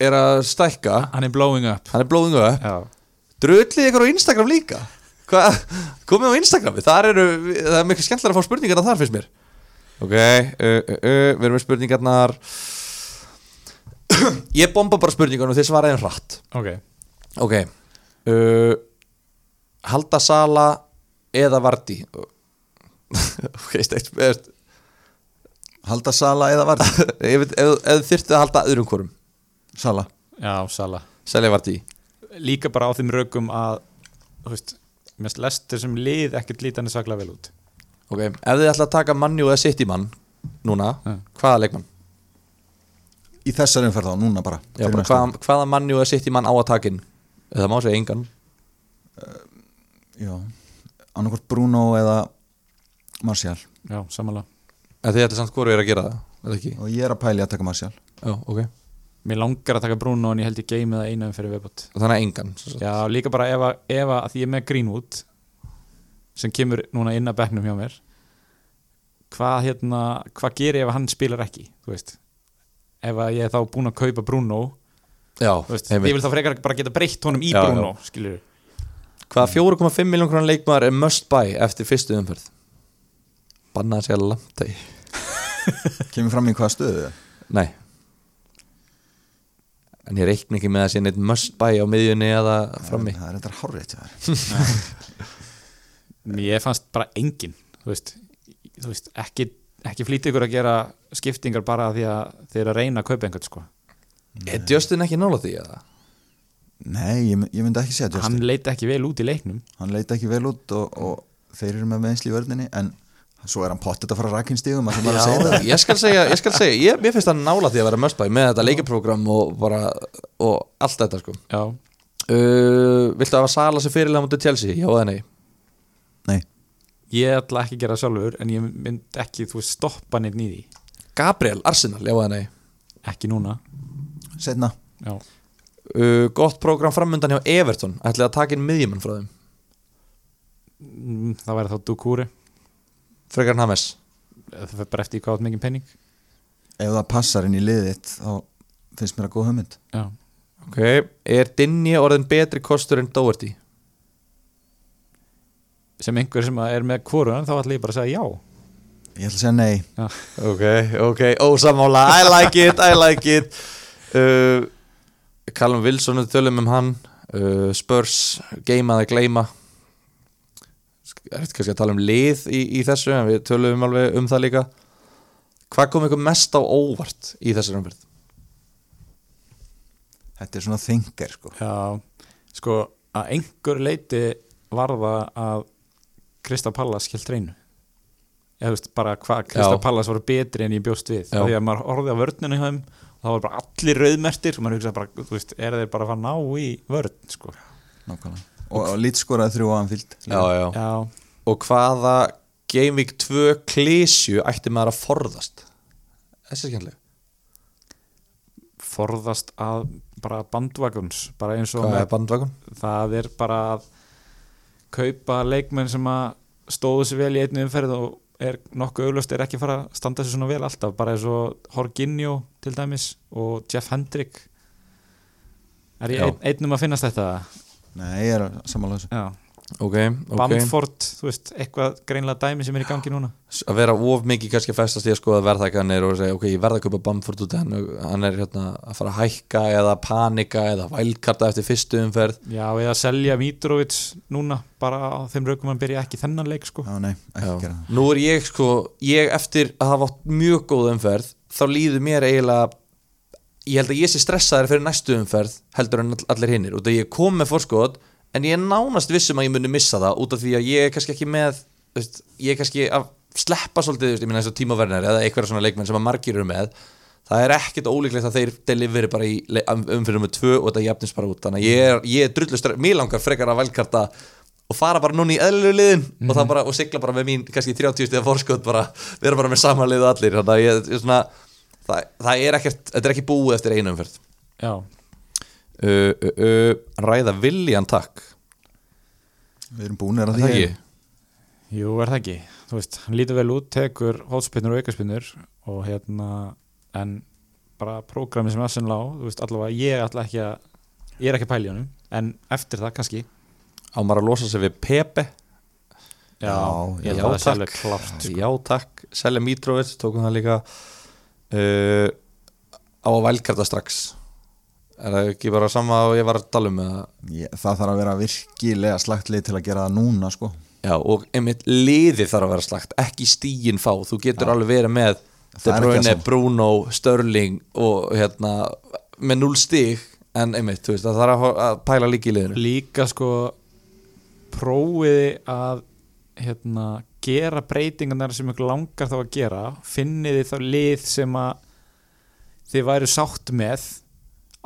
er að stækka hann er blowing up hann er blóðingu upp Já, drullið ykkur á Instagram líka Hva? komið á Instagrami þar eru, það er mikil skemmtilega að fá spurningarna þar finnst mér ok, uh, uh, uh, við erum með spurningarnar ég bomba bara spurningarna og þið svaraði þeim hratt ok ok uh, halda sala eða varti ok, steikt veist, Halda Sala eða Vardi ef ef- ef þið þyrftu að halda öðrum hverjum Sala Já, Sala selja varti líka bara á þeim rökum að þú veist, mest lestir sem lið ekkert lítan er svaklega vel út ok, ef þið ætla að taka manni og eða sitt í mann núna, Mm. hvaða leikmann? í þessari umferð þá, núna bara, Já, fyrir bara næstu. hvað, hvaða manni og sitt í mann á að takin það má segja engan Já, annarkvort Bruno eða Marcial Já, samanlega en þið ætla samt hvoru er að gera það er það ekki? og ég er að pæli að taka Martial Já, ok Mér langar að taka Bruno en ég held ég geimi það einu um fyrir viðbót Og þannig að engan sem sagt. Já, líka bara ef, að- ef að því ég er með Greenwood sem kemur núna inn að bekknum hjá mér hvað hérna hvað gerir ef að hann spilar ekki þú veist ef að ég er þá búinn að kaupa Bruno Já, þú veist, ég einmitt. vil þá frekar bara geta breytt honum í Já, Bruno skilur Hvaða 4,5 miljón krónar leikmaður er must buy eftir fyrstu umferð? Bannaði sér langt í kemur fram í hvaða stöðu það? Nei En ég reikna ekki með að sé neitt must buy á miðjunni eða frammi það er þetta hárrétt hjá þér. ég fannst bara engin þú veist, þú veist ekki, ekki flýti ykkur að gera skiptingar bara af því að þeir eru að reyna að kaupa einhvern sko. Er Justin ekki nála því eða? nei, ég, my- ég myndi ekki segja Justin hann leita ekki vel út í leiknum hann leita ekki vel út og, og þeir eru með meðsli í vörninni en svo er hann pottet að fara rakinstíðum að það bara að segja það ég skal segja, ég skal segja ég, Mér finnst það nála því að vera must buy með þetta leikaprógram og bara og allt þetta sko já, uh, Viltu hafa Sala sem fyrirlega mútið Chelsea? Já eða nei? nei, ég ætla ekki að gera það sjálfur en ég mynd ekki, þú veist, stoppa neitt nýði Gabriel Arsenal, já eða nei? ekki núna setna já. Uh, gott prógram framöndan hjá Everton ætlaði að taka inn miðjumann frá þeim Mm, það væri þá Dukúri frekar en Hames það fyrir bara eftir hvað átt mikið penning ef það passar inn í liðið þitt, þá finnst mér að góð hugmynd já. okay. er Dinni orðin betri kostur en Doherty? sem einhver sem er með kóruðan þá ætla ég bara að segja já ég ætla að segja nei, ok, ok, ósamála I like it, I like it uh, Callum Wilson við tölum um hann uh, Spurs, geima eða gleyma er þetta kannski að tala um lið í, í þessu en við tölum alveg um það líka hvað kom ykkur mest á óvart í þessari umfyrð? þetta er svona þingar sko. Já, sko að einhver leiti varða að Krista Pallas held reynu eða þú veist bara hvað Krista Já. Pallas voru betri en ég bjóst við Já. því að maður horfði á vörninu hjá þeim og það var bara allir rauðmertir og maður hugsaði bara, þú veist, er þeir bara að fara að ná í vörn sko. nákvæmlega og, og lítskoraði þrjú á anfíld já Já, og hvaða Game Week 2 klísju ætti maður að forðast þessi er skemmtileg forðast að bara bandvagons, bara eins og hvað með er bandvagun? það er bara að kaupa leikmenn sem að stóðu sér vel í einni umferð og er nokkuð auglöst er ekki að fara að standa sér svona vel alltaf bara eins og Jorginho til dæmis og Jeff Hendrick er ég Já. ein, einnum að finnast þetta nei, ég er samanlega þessu Já. ok, ok Bamford, þú veist, eitthvað greinlega dæmi sem er í gangi núna S- að vera of mikið kannski að festast í að skoða verðhækkanir og segja ok, ég verða að kaupa Bamford út af hann, hann er hérna að fara að hækka eða panika eða vælkarta eftir fyrstu umferð Já, eða selja Mitrovic núna bara á þeim raukum hann byrja ekki þennan leik sko. já, nei, ekki gera það nú er ég sko, ég eftir að hafa átt mjög góð umferð þá líður mér eiginlega ég held að ég sé stressaður fyrir næstu umferð heldur en all- allir hinnir, út af ég kom með fórskot en ég er nánast vissum að ég muni missa það út af því að ég er kannski ekki með þú veist, ég er kannski að sleppa svolítið, þú veist, ég minna eins og tímavernar eða einhverja svona leikmenn sem að margir eru með það er ekkert ólíklegt að þeir deliveri bara í le- um- umferðum með tvö og þetta jafnins bara út þannig að ég er, ég er drullu stress, mér langar frekar að velkarta og fara bara núna í eðlilegu liðin og það bara, og sigla bara með mín kannski 30 stiða fórskot bara, vera bara með sama lið og allir þannig að ég, ég svona það, það er ekkert, þetta er ekki búið eftir einu umferð Já, uh, uh, uh, ræða viljan takk við erum búinir það að því ekki jú, er það ekki þú veist, hann lítur vel út, tekur hótspinnur og aukarspinnur og hérna en bara prógrami sem Assen lá, þú veist, allavega ég ætla ekki að ég er ekki að pæla í honum, en eftir það kannski á maður að losa sig við Pepe Já, Já, ég held já, að það sé alveg takk. klárt sko. já takk, Selja Mitrovic tókum það líka uh, á að vælkarta strax er það ekki bara sama og ég var að tala um eða ég, það þarf að vera virkilega slagt lið til að gera það núna sko. Já, og einmitt liði þarf að vera slagt ekki stígin fá, þú getur alveg verið með Það De er ekki það Bruyne, sama. Bruno, Störling og hérna með null stíg en einmitt, þú veist, það þarf að- að pæla líki í liðinu líka sko prófiði að hérna, gera breytingarnar sem ykkur langar þá að gera finniði þá lið sem að þið væru sátt með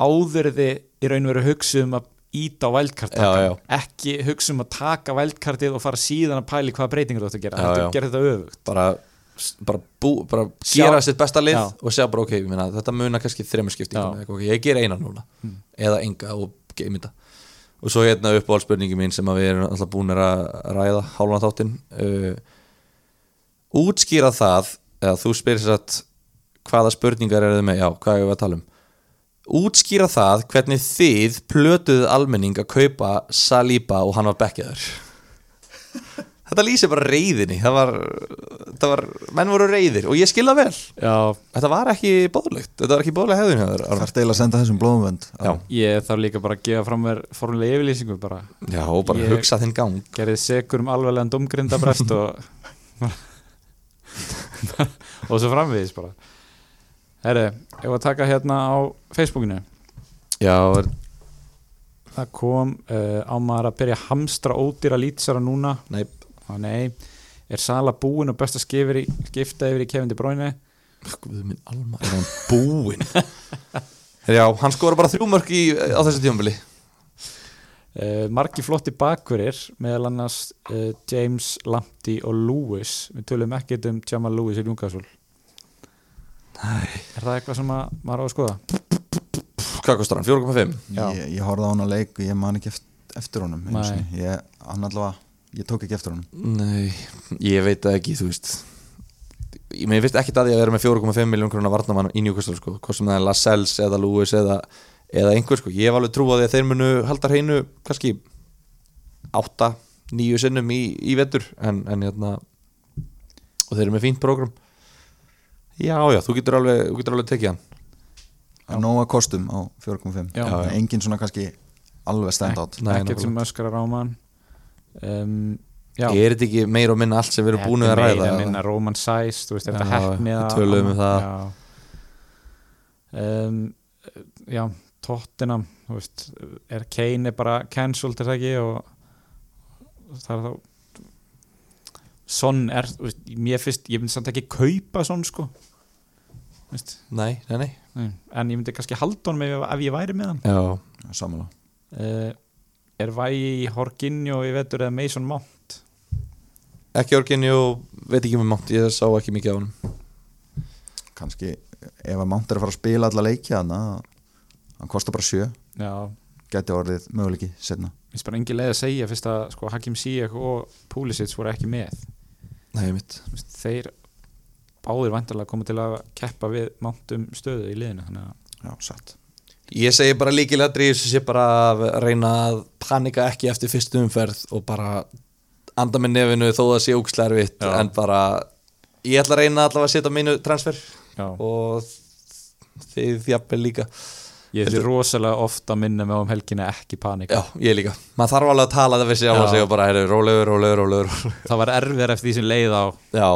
áður en þið í raun og veru hugsið um að íta á Já, já. vældkartakan ekki hugsa um að taka vældkartið og fara síðan að pæli hvaða breytingar þú ætti að gera Já, þetta já. gerir þetta öfugt bara s- bara, bú, bara gera sitt besta lið Já. og segja bara ok, ég meina, þetta munar kannski þremur skiptingum, Já. Mm. eða eitthvað, ok, ég ger eina núna eða enga og geim þetta og svo hérna upp á allspurningi mín sem að við erum alltaf búinir að ræða hálfan þáttinn uh, útskýra það eða þú spyrir sér að hvaða spurningar eru þið með, já, hvað er við að tala um útskýra það hvernig þið plötuðu almenning að kaupa Saliba og hann var bekkjaður þetta lýsir bara reyðinni það var, það var, menn voru reyðir og ég skilða vel, Já, þetta var ekki bóðlegt þetta var ekki bóðleg hefðin hefur Það er deil að senda þessum blóðumvönd já, ég þarf líka bara að gefa fram mér formulega yfirlýsingu bara já, og bara Ég- hugsa þinn gang gerðið sekur um alveglegan domgrindabrest og og svo framvegis bara Herri, ég var að taka hérna á Facebookinu já, er, það kom uh, á maður að byrja að hamstra ódýra lýtsara núna nei, Á, nei, er Sala búin og besta skifir í, skipta yfir í Kevin De Bruyne guð minn alma er hann búinn já, hann skora bara þrjú mörg í, á þessu tímabili uh, margi flotti bakverir meðal annars uh, James, Lamptey og Lewis við tölum ekkert um Jamal Lewis í Ljungasvól er það eitthvað sem að maður á að skoða? hvað kostar hann, 4,5 Já. Ég, ég horfði á hann að leik og ég man ekki eft- eftir honum einu Nei. sinni. ég, hann allavega, ég tók ekki eftir honum Nei, ég veit það ekki, þú veist Ég meina, ég veist ekki að því að vera með 4,5 miljón krónar varnamann í Newcastle sko, hvort sem það er Lascelles eða Lewis eða, eða einhver sko, ég hef alveg trú á því að þeir munu halda hreinu kannski 8, 9 sinnum í, í vetur en, en hérna og þeir eru með fínt prógram Já, já, þú getur alveg, þú getur alveg tekið hann að nóga kostum á 4.5 Já. En engin svona kannski alveg stand out Nei, ekkert sem öskrar á mann um, já, Er þetta ekki meir og minna allt sem við erum búin að Þetta er ræða? meira minna Roman Size, þú veist, er Já, þetta hefni við eða- töluðum um það. já. Um, já, Tottenham þú veist, er Kane er bara cancelled er það ekki og og það er þá Son er, þú veist, mér finnst ég myndi samt ekki kaupa Son sko Þú veist, Nei, nei, nei nei. en ég myndi kannski halda honum ef, ef ég væri með hann Já, samanlega uh, er vægi í Horginjó í vetur eða Mason Mount ekki orginni og veit ekki með mátt, ég sá ekki mikið á hann kannski ef að Mount er að fara að spila alla leiki hann hann kostar bara 7 já, geti orðið möguleiki setna finnst bara engin leið að segja fyrst að sko, Hakim Ziyech og Pulisic voru ekki með Nei, mitt Þú veist, þeir báðir vantarlega koma til að keppa við mántum stöðu í liðinu þannig að já, satt Ég segi bara líkilegri þessu sé bara að reyna að panika ekki eftir fyrstu umferð og bara anda með nefinu þó það sé ógslarvitt Já. en bara ég ætla að reyna allavega að setja mínu transfer já, og þið þjappi líka ég er rosalega ofta að minna með um helgina ekki panika Já, ég líka maður þarf alveg að tala það við sig alveg Já. að segja bara heyrðu, rólegur, rólegur, rólegur það var erfiðar eftir því sem leið á Já,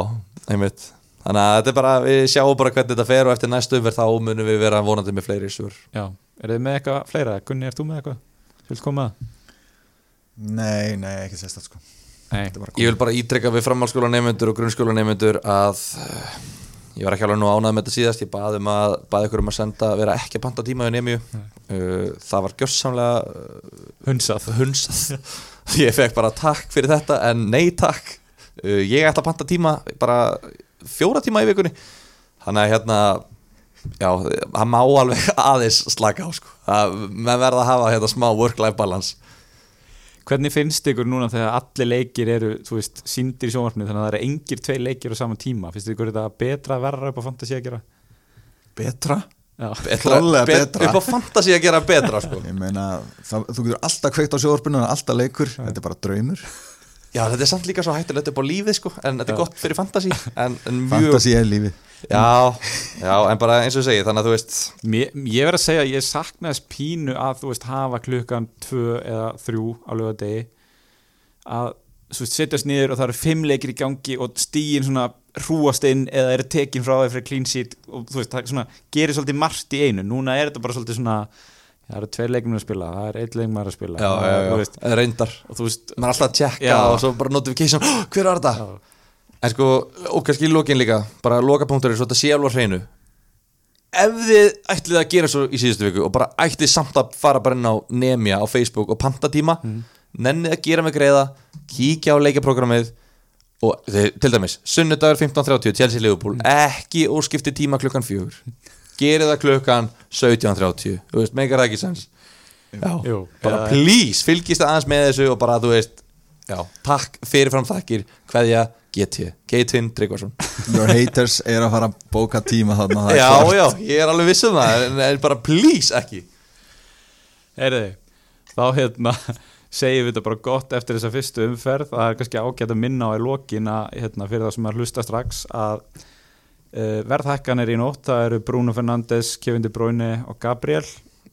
einmitt Þannig að þetta er bara, við sjáum bara hvernig þetta fer og eftir næstu umferð þá munum við vera vonandi með fleiri svör já, er þið með eitthvað fleira? Gunni, ert þú með eitthvað? Vil koma? nei, nei, ekki sérstætt sko Nei, Þetta var Ég vil bara ítreka við framhalskóla nefnendur og grunnskóla nefnendur að eh, ég var ekki alveg nú ánað með þetta síðast ég baði, um að, baði ykkur um að senda vera ekki að panta tíma hjá nefnju uh, það var gjörsamlega hunsað uh, hunsað ég fekk bara takk fyrir þetta en nei takk uh, ég ætla að panta tíma bara fjóra tíma í vikunni þannig að hérna já, það má alveg aðeins slaka á sko, Það- menn verða að hafa hérna smá work-life balance Hvernig finnst ykkur núna þegar allir leikir eru, þú veist, síndir í sjónvarpinu þannig að það eru engir tvei leikir á sama tíma finnst ykkur þetta betra verra upp á fantasi að gera? betra Já, Klárlega bet- betra. upp á fantasi að gera betra sko ég meina, það, þú getur alltaf kveikt á sjóðorpinu og alltaf leikur, þetta er bara draumur Já, þetta er samt líka svo hættulegt upp á lífið sko En þetta er gott fyrir fantasi En, en mjög fantasi er lífi Já, já, en bara eins og ég segi Þannig að þú veist Mér, ég verð að segja að ég saknaðis pínu að þú veist hafa klukkan tvö eða þrjú á lögadegi að þú veist setjast niður og það eru fimm leikir í gangi og stíin svona hrúast inn eða eru tekin frá þér fyrir clean sheet og þú veist það svona gerir svolítið margt í einu núna er þetta bara svolítið svona það eru tveir leikmenn að spila, það er einn leikmenn að spila Já, já, já, þú veist, reyndar og þú veist Maður er alltaf að tjekka Já. og svo bara notification "Hó, Hver var þetta? En sko, og kannski í lokin líka Bara lokapunktur er svo þetta sé alveg á hreinu Ef þið ætlið að gera svo í síðustu viku Og bara ætlið samt að fara bara inn á Nemja á Facebook og pantatíma mm. Nennið að gera mig greiða Kíkja á leikjaprogrammið og þið, til dæmis, sunnudagur 15.30 Chelsea Liverpool, ekki óskipti tíma klukkan fjögur gerið það klukkan 17.30, þú veist, megar það ekki sens já, Jú. bara Eða- please fylgist aðeins með þessu og bara, þú veist já, takk fyrirfram þakkir hverja GT, Geitvin Tryggvason Your haters er að fara að bóka tíma þarna það er já, klárt. já, ég er alveg viss um það en, en bara please ekki Herði, þá hérna segjum við þetta bara gott eftir þessa fyrstu umferð það er kannski ágætt að minna á í lokin að hérna, fyrir það sem er hlusta strax að uh, verðhækkanir í nótt það eru Bruno Fernandes, Kevin De Bruyne og Gabriel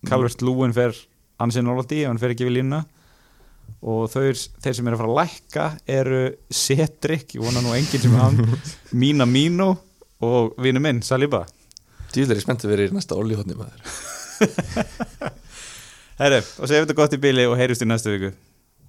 Calvert Lúin fer ansinn álóti, hann fer ekki við línuna og þeir, þeir sem eru að fara að lækka eru Cedric, ég vona nú enginn sem er hann Mina Mino og vinu minn, Saliba dýðlega er spennt að vera í næsta olíhotni maður Herri, og segjum við þetta gott í bili og heyrjumst í næstu viku